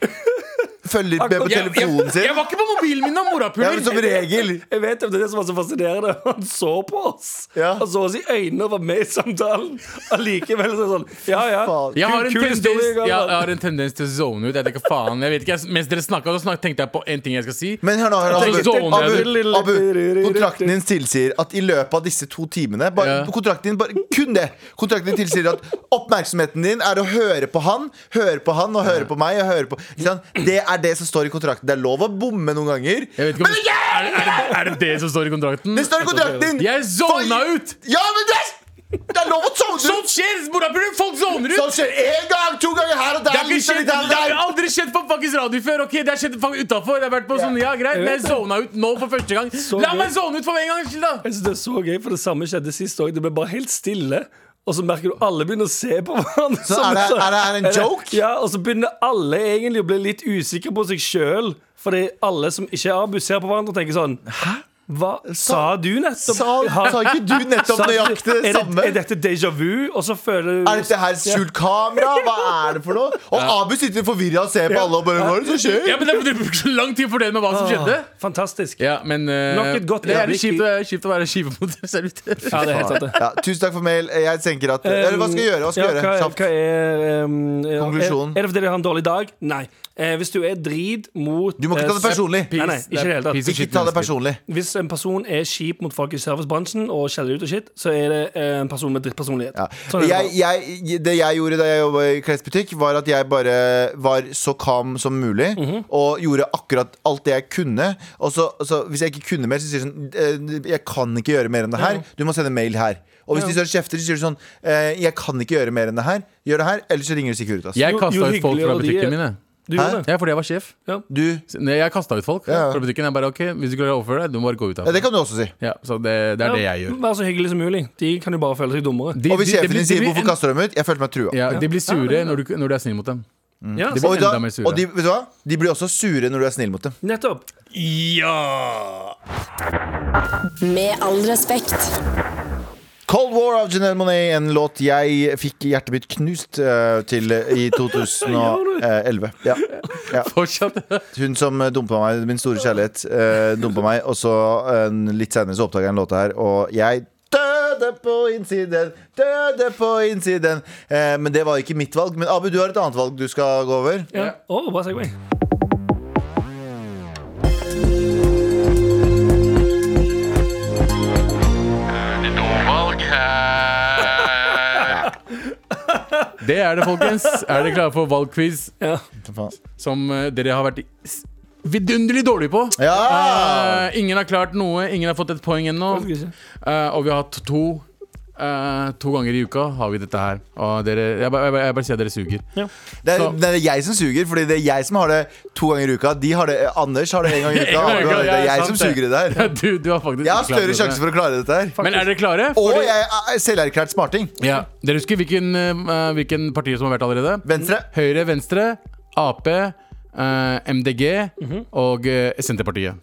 Følger med på
Jeg, jeg,
telefonen sin
jeg var ikke på mobilen min da,
ja, men
morapuler!
Som regel
Jeg vet om det er det som var så fascinerende. Han så på oss.
Ja.
Han så oss i øynene og var med i samtalen. Allikevel så sånn Ja, ja.
Faen.
Jeg har, en
Kul- kul
tendens,
historie,
jeg,
gammel.
jeg har en tendens til å zone ut. Jeg vet ikke faen jeg vet ikke, jeg, Mens dere snakka, tenkte jeg på en ting jeg skal si.
Men hør nå, hør
Jeg
nå
tenker
Abu,
sånn, jeg
Abu,
vil-
Abu, kontrakten din tilsier at i løpet av disse to timene bare,
Ja.
Kontrakten din, bare, kun det Kontrakten din tilsier at oppmerksomheten din er å høre på han Høre på han og høre på meg og høre på, ikke sant? Det er det som står i kontrakten Det er lov å bomme noen ganger
Jeg vet ikke om, er, det- er, det, er det det som står i kontrakten?
Det står i kontrakten din
Jeg zona
For-
ut!
Ja, men det er, det er lov å sovne
Sånt
ut
skjer! Morapuler! Folk zoner ut!
Sånn skjer en gang, to ganger her og der
Det har ikke
litt og
skjedd,
litt her og
det har
der.
aldri skjedd på fuckings radio før. Ok, Det har skjedd utafor. Jeg har vært på sånn, ja greit, men jeg zona ut nå for første gang. La
gøy.
meg zone ut for en gang skyld, da!
Jeg synes det er så gøy, for det samme skjedde sist òg. Det ble bare helt stille. Og så merker du alle begynner å se på hverandre.
Så
som
er det-
sånn-
er det her en joke?
Ja, og så begynner alle egentlig å bli litt usikre på seg sjøl. Fordi alle som ikke er Abu, ser på hverandre og tenker sånn Hæ? Hva sa du nettopp?
Sa,
Har-
sa ikke du nettopp
Sa-
nøyaktig det
er
samme?
Er dette déjà vu? Og så føler du
Er dette her skjult kamera? Hva er det for noe? Og Abu sitter forvirra og ser på alle og bare Hva er det som skjer?
Ja, men Det det brukte lang tid å fordele med hva som skjedde.
Fantastisk.
Ja, men eh,
Ah. Nok et godt
Det er
øyeblikk
kjipt, å- kjipt å være skive mot servitør.
Ja, det er helt sant, det.
Ja, tusen takk for mail. Jeg tenker at Eller hva skal jeg gjøre? Hva skal jeg
Ja,
gjøre?
Hva,
Kjapt.
hva er, um, ja,
Konklusjonen.
Er, er det fordi dere har en dårlig dag? Nei. Eh, hvis du er drit mot
Du må ikke ta det
eh,
personlig.
Nei, nei, ikke i det hele tatt.
Piece of
Ikke
shit
ta det
mennesker.
personlig.
Hvis en person er kjip mot folk i servicebransjen og skjeller ut og shit, så er det eh, en person med drittpersonlighet.
Ja.
Sånn er det
jeg,
bare.
jeg, det jeg gjorde da jeg jobba i klesbutikk, var at jeg bare var så calm som mulig.
Mhm.
Og gjorde akkurat alt det jeg kunne. Og så, så hvis jeg ikke kunne mer, så sier de sånn eh, Jeg kan ikke gjøre mer enn det her. Du må sende mail her. Og hvis de så kjefter, så sier de sånn eh, Jeg kan ikke gjøre mer enn det her. Gjør det her, ellers så ringer du Securitas.
Jo- jo
Jeg kasta ut folk
hyggeligere de
fra
er.
butikken min. jeg.
Du gjorde det.
Ja, fordi jeg var sjef.
Du,
Så- Nei, Jeg kasta ut folk
Ja.
fra butikken. Jeg bare OK, hvis du klarer å overføre deg, du må bare gå ut
ja,
av
det kan du også si.
Ja, så det, det er det jeg gjør.
Vær så hyggelig som mulig. De kan jo bare føle seg dummere.
De-
Og hvis sjefen
de- det
din
blir- det
sier
blir
'hvorfor
en-
kaster du dem ut', jeg følte meg trua.
Ja, de
Ja, det
blir sure
er-
når du, når du er snill mot dem.
ja,
de
så-
var-
Og, da,
Enda mer sure.
og Mm. de, vet du hva? de blir også sure når du er snill mot dem.
nettopp.
Med all respekt.
Cold War av Janelle Monet, en låt jeg fikk hjertet mitt knust eh, til i 2011. Ja. Ja.
Fortsatt.
Hun som dumpa meg, min store kjærlighet, eh, dumpa meg, og så eh, litt senere så oppdaga jeg en låt her, og jeg døde på innsiden, døde på innsiden. Eh, men det var ikke mitt valg. Men Abu, du har et annet valg du skal gå over.
Ja. Å, bra segway.
Det er det, folkens. Er dere klare for valgquiz,
Ja.
som eh, dere har vært i- s- vidunderlig dårlige på?
Ja!
Eh, ingen har klart noe. Ingen har fått et poeng ennå. Eh, og vi har hatt to eh, To ganger i uka har vi dette her. Og dere, jeg, bare- jeg, bare- jeg bare sier at dere suger.
Det er,
Så-
det er jeg som suger, Fordi det er jeg som har det to ganger i uka. De har det, Anders har det en gang i uka.
gang i
Abu har
uka,
det. Det er
ja,
jeg som
sant det.
suger i det her.
Du, du har faktisk
Jeg har
ikke klart
større
det.
sjanse for å klare dette her.
Men er dere klare?
Og
Fordi-
jeg er selverklært smarting.
ja. Dere husker hvilken, eh, hvilken partier som har vært allerede?
Venstre.
Høyre, Venstre, Ap, eh, MDG og eh, Senterpartiet.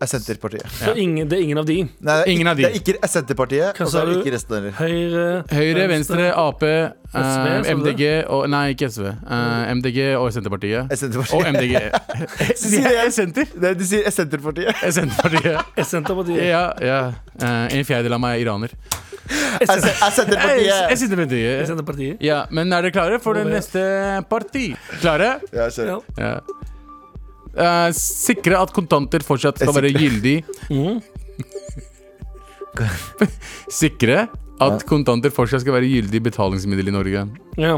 Er Senterpartiet.
Så ingen, det er ingen av de.
Nei, det er
Ingen
ikke-
av de.
Det er ikke er Senterpartiet,
Hva
og så
sa
er det
du?
ikke resten heller.
Høyre, eh,
Høyre, Venstre, Ap, eh,
SV, sa du det?
MDG og Nei, ikke SV. Eh, MDG og Senterpartiet.
Er Senterpartiet.
Og MDG.
sier
De er senter.
Nei, de sier Senterpartiet.
Eh, Senterpartiet.
Senterpartiet.
Ja, ja. Eh, En fjerdedel av meg er iraner.
Er Se- er
Eh,
Senterpartiet.
Senterpartiet.
Senterpartiet.
Ja, men er dere klare for det neste parti? Klare?
Ja, kjør.
Ja.
Ja. Eh, sikre at kontanter fortsatt skal være gyldig.
Mhm.
sikre at kontanter fortsatt skal være gyldig betalingsmiddel i Norge.
Ja.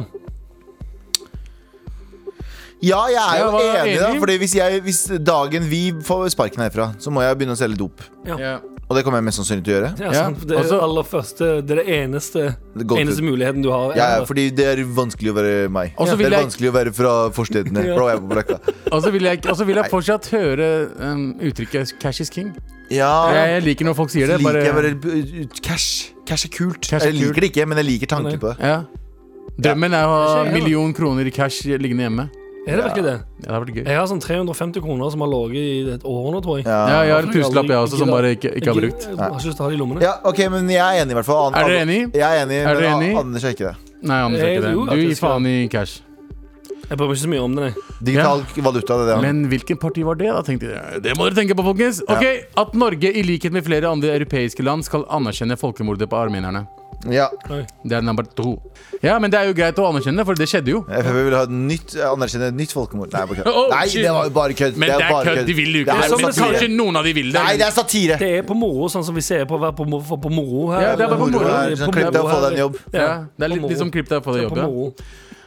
Ja, jeg er jo
Ja, hva er
enig,
enig?
da. Fordi hvis, jeg, hvis dagen vi får sparken herfra, så må jeg begynne å selge dop.
Ja.
Og det kommer jeg mest sannsynlig til å gjøre.
Ja,
Ja,
sant. Det er
altså-
aller første Det er det eneste,
Go to.
eneste muligheten du har.
Ja, ja, fordi det er vanskelig å være meg.
Og så
Det
vil
er
jeg-
vanskelig å være fra forstedene.
Ja.
For da var jeg på blekka.
Og så vil, jeg- og så vil jeg fortsatt høre um, uttrykket 'cash is king'.
Ja,
Jeg liker når folk sier
så
det.
Ah. liker jeg
Bare,
bare Cash. Cash er kult.
Cash er
Jeg liker
kult.
det ikke, men jeg liker tanken på det.
ja. Drømmen er å ha
Det skjer, ja.
million kroner i cash liggende hjemme.
Er det virkelig det?
Ja, det hadde vært gøy.
Jeg har sånn 350 kroner som har ligget i et år nå, tror jeg.
Ja.
Ja, jeg har en tusenlapp jeg også som bare ikke, ikke har
Jeg-
brukt.
Jeg har ikke lyst til å ha det i lommene.
Ja, ok, men jeg er enig i hvert fall. An-
Er dere
An-
enig?
Jeg er enig,
Er dere
men
enig?
An- Anders er ikke det.
Nei, Anders, det er
Jeg tror Eh, at
ikke det. Du
jeg
gir
skal-
faen i cash.
Jeg prøver ikke så mye om det, nei.
Digital valuta, det er det han.
Men hvilken parti var det, da? tenkte jeg Det må dere tenke på, folkens. Ok, At Norge, i likhet med flere andre europeiske land, skal anerkjenne folkemordet på armenerne.
Ja.
Det er nummer to. Ja, men det er jo greit å anerkjenne, for det skjedde jo.
FrP vil ha et nytt, anerkjenne et nytt folkemord. Nei, bare kødd.
Oh,
Nei,
shit.
det var jo bare kødd.
Men det er
bare
kødd, de vil jo
Det
ikke.
er
Det
jo
er som kanskje
satire.
noen av de vil det.
Nei, det er satire.
Det er på moro, sånn som vi ser på å være på, mo- for- på moro her.
Ja, det er bare på
Eller-
moro.
her, sånn, klipp deg og få deg en jobb.
ja, det er litt,
på
litt som
moro.
klipp deg på det
Ja, på
jobbet.
moro.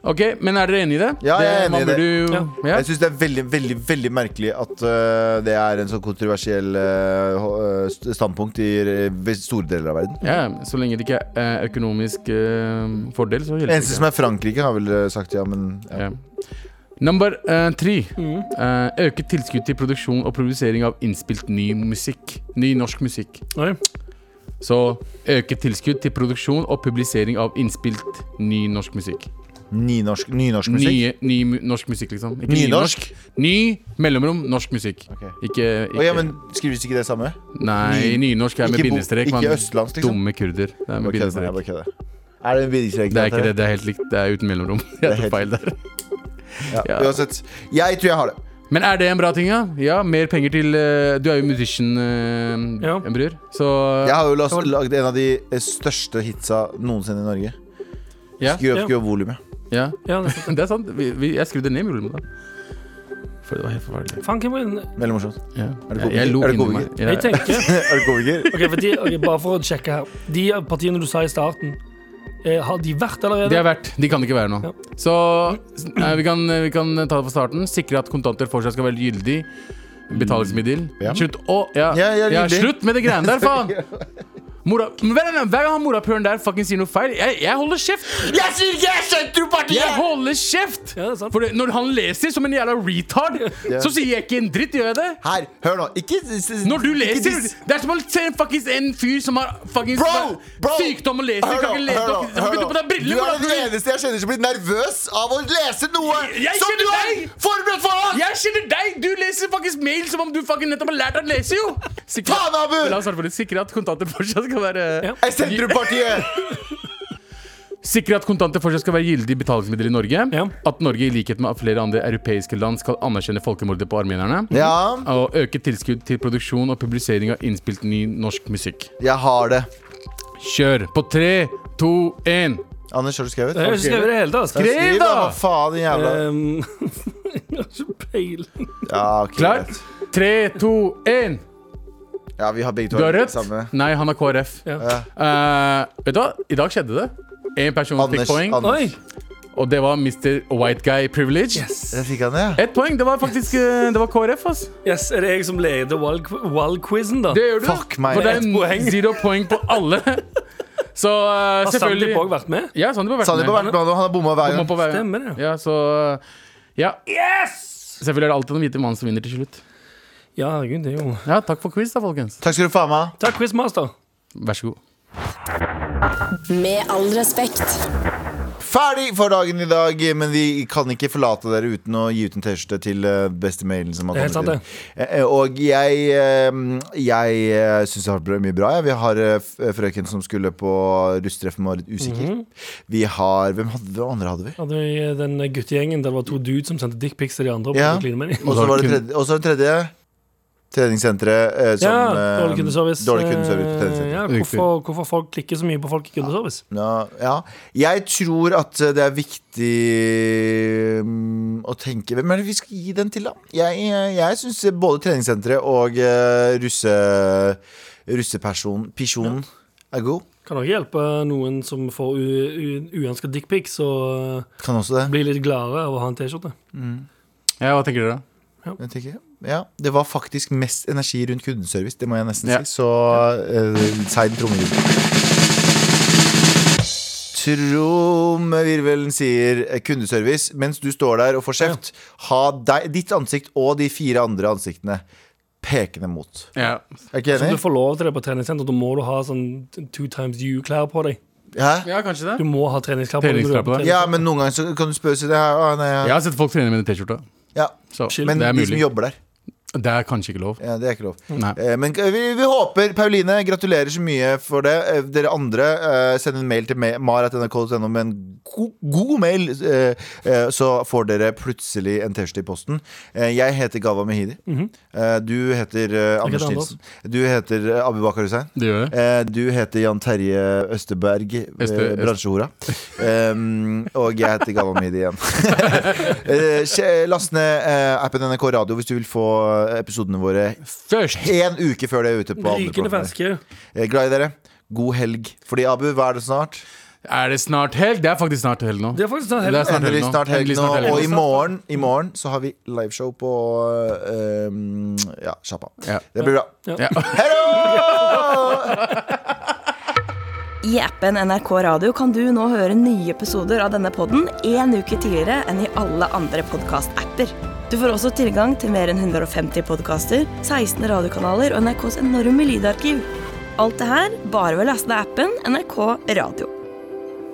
Ok, Men er dere enig i det?
Ja, jeg er
Det-
enig i
man burde jo- ja.
Jeg syns det er veldig veldig, veldig merkelig at øh, det er en sånn kontroversiell øh, ho- øh, st- standpunkt i øh, ve- store deler av verden.
Ja, så lenge det ikke er eh, økonomisk eh, fordel, så hjelper
Eneste
det.
som er Frankrike, har vel øh, sagt ja, men ja.
Ja. Nummer eh, tre. Eh, øke tilskudd til produksjon og produsering av innspilt ny musikk. Ny norsk musikk.
Oi.
Så øke tilskudd til produksjon og publisering av innspilt ny norsk musikk.
Nynorsk, nynorsk musikk.
Nye, ny mu- norsk musikk, liksom. Ikke
Nynorsk?
nynorsk. Ny mellomrom norsk musikk.
Ok.
Ikke,
Å,
ikke
ja, men Skrives ikke det samme?
Nei, nynorsk er med
Ikke bo-
bindestrek. mann.
ikke østlandsk, liksom?
Dumme kurder. Det er med
Bare kødder, jeg
bindestrek.
bare kødder. Er det en bindestrek?
Det er ikke det, det er helt likt. Det er uten mellomrom. Jeg
helt-
tok feil der.
Ja.
Ja.
Uansett. Jeg tror jeg har det.
Men er det en bra ting, ja? Ja, mer penger til eh, Du er jo musician, eh,
Ja.
en bror. Så
Jeg har jo las- lagd en av de eh, største hitsa noensinne i Norge.
Ja.
Skru opp,
Ja.
skru opp volumet.
ja.
Ja, det er sant.
Det er sant. Vi, vi, jeg skrudde ned volumet da. For det var helt forferdelig.
Faen, hvem var den?
Veldig morsomt.
Ja.
Er det
Jeg, jeg lo
komiker? Er det
inni meg.
komiker?
Ja,
Jeg
ja.
tenker
Er du komiker?
Ok, for de, ok, Bare for å sjekke her. De partiene du sa i starten, eh, har de vært
De
allerede?
er verdt. De kan ikke være noe.
Ja.
Så eh, vi, kan, vi kan ta det fra starten. Sikre at kontanter fortsatt skal være gyldig. Betalingsmiddel.
Mm. Ja.
Slutt å ja.
Ja, jeg er
ja,
gyldig.
Slutt med de greiene der, faen! Mora, Men hver, gang- hver gang han morapuleren der fucking sier noe feil, jeg, jeg holder kjeft! Jeg sier ikke jeg er sentrumpartiet! Jeg holder kjeft!
Ja, det er sant.
For det, når han leser som en jævla retard, så sier jeg ikke en dritt, gjør jeg det?
Her, hør nå. Ikke s- s-
Når du
ikke
leser
dis-
Det er som å se en, fucking, en fyr som har fucking
Bro! bro
sykdom og leser.
Hør
Kan
nå,
ikke
hør nå,
lese. kan ikke-
hør
Kan
nå.
ikke ta på deg briller! hvordan
Du
du
er den
vil.
eneste jeg kjenner som blir nervøs av å lese noe
Jeg
som du
kjenner
er
deg!
forberedt foran!
Jeg kjenner deg! Du leser faktisk mail som om du fucking nettopp har lært å lese, jo! Sikre,
Faen, Abu!
La oss starte på det. Sikre at kontanter fortsatt skal være
Ja.
Er Senterpartiet!
Sikre at kontanter fortsatt skal være gyldig betalingsmiddel i Norge.
Ja.
At Norge, i likhet med flere andre europeiske land, skal anerkjenne folkemordet på armenerne.
Ja,
Og øke tilskudd til produksjon og publisering av innspilt ny norsk musikk.
jeg har det.
Kjør på tre, to, én.
Anders, har du skrevet?
Jeg har ikke skrevet det hele
Ja,
tatt. Skriv!
Skriv, da!
da! Eh,
Hva faen, din jævla
Um, jeg har ikke peiling.
Ja, ok,
Klar?
greit.
Tre, to, én.
Ja, vi har begge to
Du har rødt?
samme.
Nei, han har KrF.
Ja.
Eh, vet du hva? I dag skjedde det. Én person
Anders,
fikk poeng,
Anders.
Oi!
og det var Mr. White Guy Privilege.
Der fikk han det, ja.
Ett poeng. Det var faktisk eh, Det var KrF, ass.
Yes, Er det jeg som leder wall-quizen, da?
Det gjør du.
Fuck meg.
For det er
Ett poeng.
zero poeng på alle. Så eh,
har Sandeep
selvfølgelig
òg vært med?
Ja, Sandeep har vært
Sandeep har vært med, og han har bomma hver
Kom
gang.
opp og vær-
Stemmer det.
Ja, så eh, Ja. Selvfølgelig er det alltid den hvite mannen som vinner til slutt.
Ja, herregud, det er jo
Ja, takk for quiz, da, folkens.
Takk skal du faen meg ha.
Takk, quizmaster.
Vær så god.
Med all respekt.
Ferdig for dagen i dag, men vi kan ikke forlate dere uten å gi ut en T-skjorte til eh, beste mailen som har
Det er helt
kommet
sant,
inn. Eh, eh, Og jeg, eh, jeg eh, syns det har vært mye bra. Ja. Vi har eh, f- frøken som skulle på russetreff, men var litt usikker.
Mhm.
Vi har Hvem, hadde, hvem andre hadde vi?
Hadde vi eh, den guttegjengen der det var to dudes som sendte dickpics til de andre? Og
Ja.
prøvde å kline med dem.
Og så var det tredje, og så den tredje treningssenteret eh, som
ja,
eh,
dårlig kundeservice.
Dårlig kundeservice på
Eh,
treningssenteret.
ja, hvorfor, hvorfor folk klikker så mye på folk i kundeservice?
Ja, ja. Jeg tror at eh, det er viktig mm, å tenke Hvem er det vi skal gi den til, da? Jeg, jeg syns både treningssenteret og eh, russe, russepersonen Pisjonen er god.
Kan også hjelpe noen som får u- u- uønska dickpics, og eh,
Kan også det.
blir litt gladere av å ha en T-skjorte.
Eh?
Ja, hva tenker dere?
Jeg tenker, ja, det var faktisk mest energi rundt kundeservice, det må jeg nesten
Ja.
si. Så uh, seid trommevirvel. Trommevirvelen sier eh, kundeservice mens du står der og får kjeft. Ha deg, ditt ansikt og de fire andre ansiktene pekende mot.
Ja.
Er ikke
Som du
enig?
får lov til det på treningssenter, da må du ha sånn two times you-klær på deg.
Hæ?
ja, kanskje det.
Du må ha treningsklær på deg. når du er
Treningsklær på deg.
Ja, men noen ganger så kan du spørre seg det her. Å, nei,
Jeg
ja.
har sett folk trene med den T-skjorta.
Ja.
Så
Men
det er
de som
mulig.
jobber der.
Det er kanskje ikke lov.
Ja, det er ikke lov.
Nei.
Eh, Men eh, vi, vi håper, Pauline, gratulerer så mye for det. Eh, Dere andre, eh, send en mail til me- mar.nrk.no med en god, god mail, eh, eh, så får dere plutselig en T-skjorte i posten. Eh, Jeg heter Gava Mehidi. Eh, Du heter eh, Anders
Anders.
Nilsen. Du heter eh, Abubakar Hussein.
Det gjør jeg.
Eh, Du heter Jan Terje Østeberg, eh,
Øste- Øst-
bransjehora. Um, og jeg heter Galvan Midi igjen. Eh, sj- Last ned eh, appen NRK Radio hvis du vil få eh, episodene våre
Først!
én uke før det er ute. på alle
Rykende
plattformer.
ferske.
Eh, Glad i dere. God helg. Fordi Abu, hva er det snart?
Er det snart helg? Det er faktisk snart helg nå.
Det er faktisk sånn
Det er
helt
snart helg
Endelig
nå.
snart helg
Endelig
nå.
snart helg nå.
Og i morgen, i morgen så har vi liveshow på eh, um, ja, sjappa.
Ja.
Det blir bra.
Ja.
I appen NRK Radio kan du nå høre nye episoder av denne podden en uke tidligere enn i alle andre podcast-apper. Du får også tilgang til mer enn 150 podcaster, 16 radiokanaler og NRKs enorme lydarkiv. Alt det her bare ved å laste ned appen NRK Radio.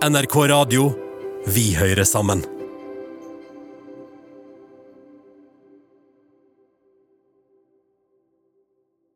NRK Radio. Vi hører sammen.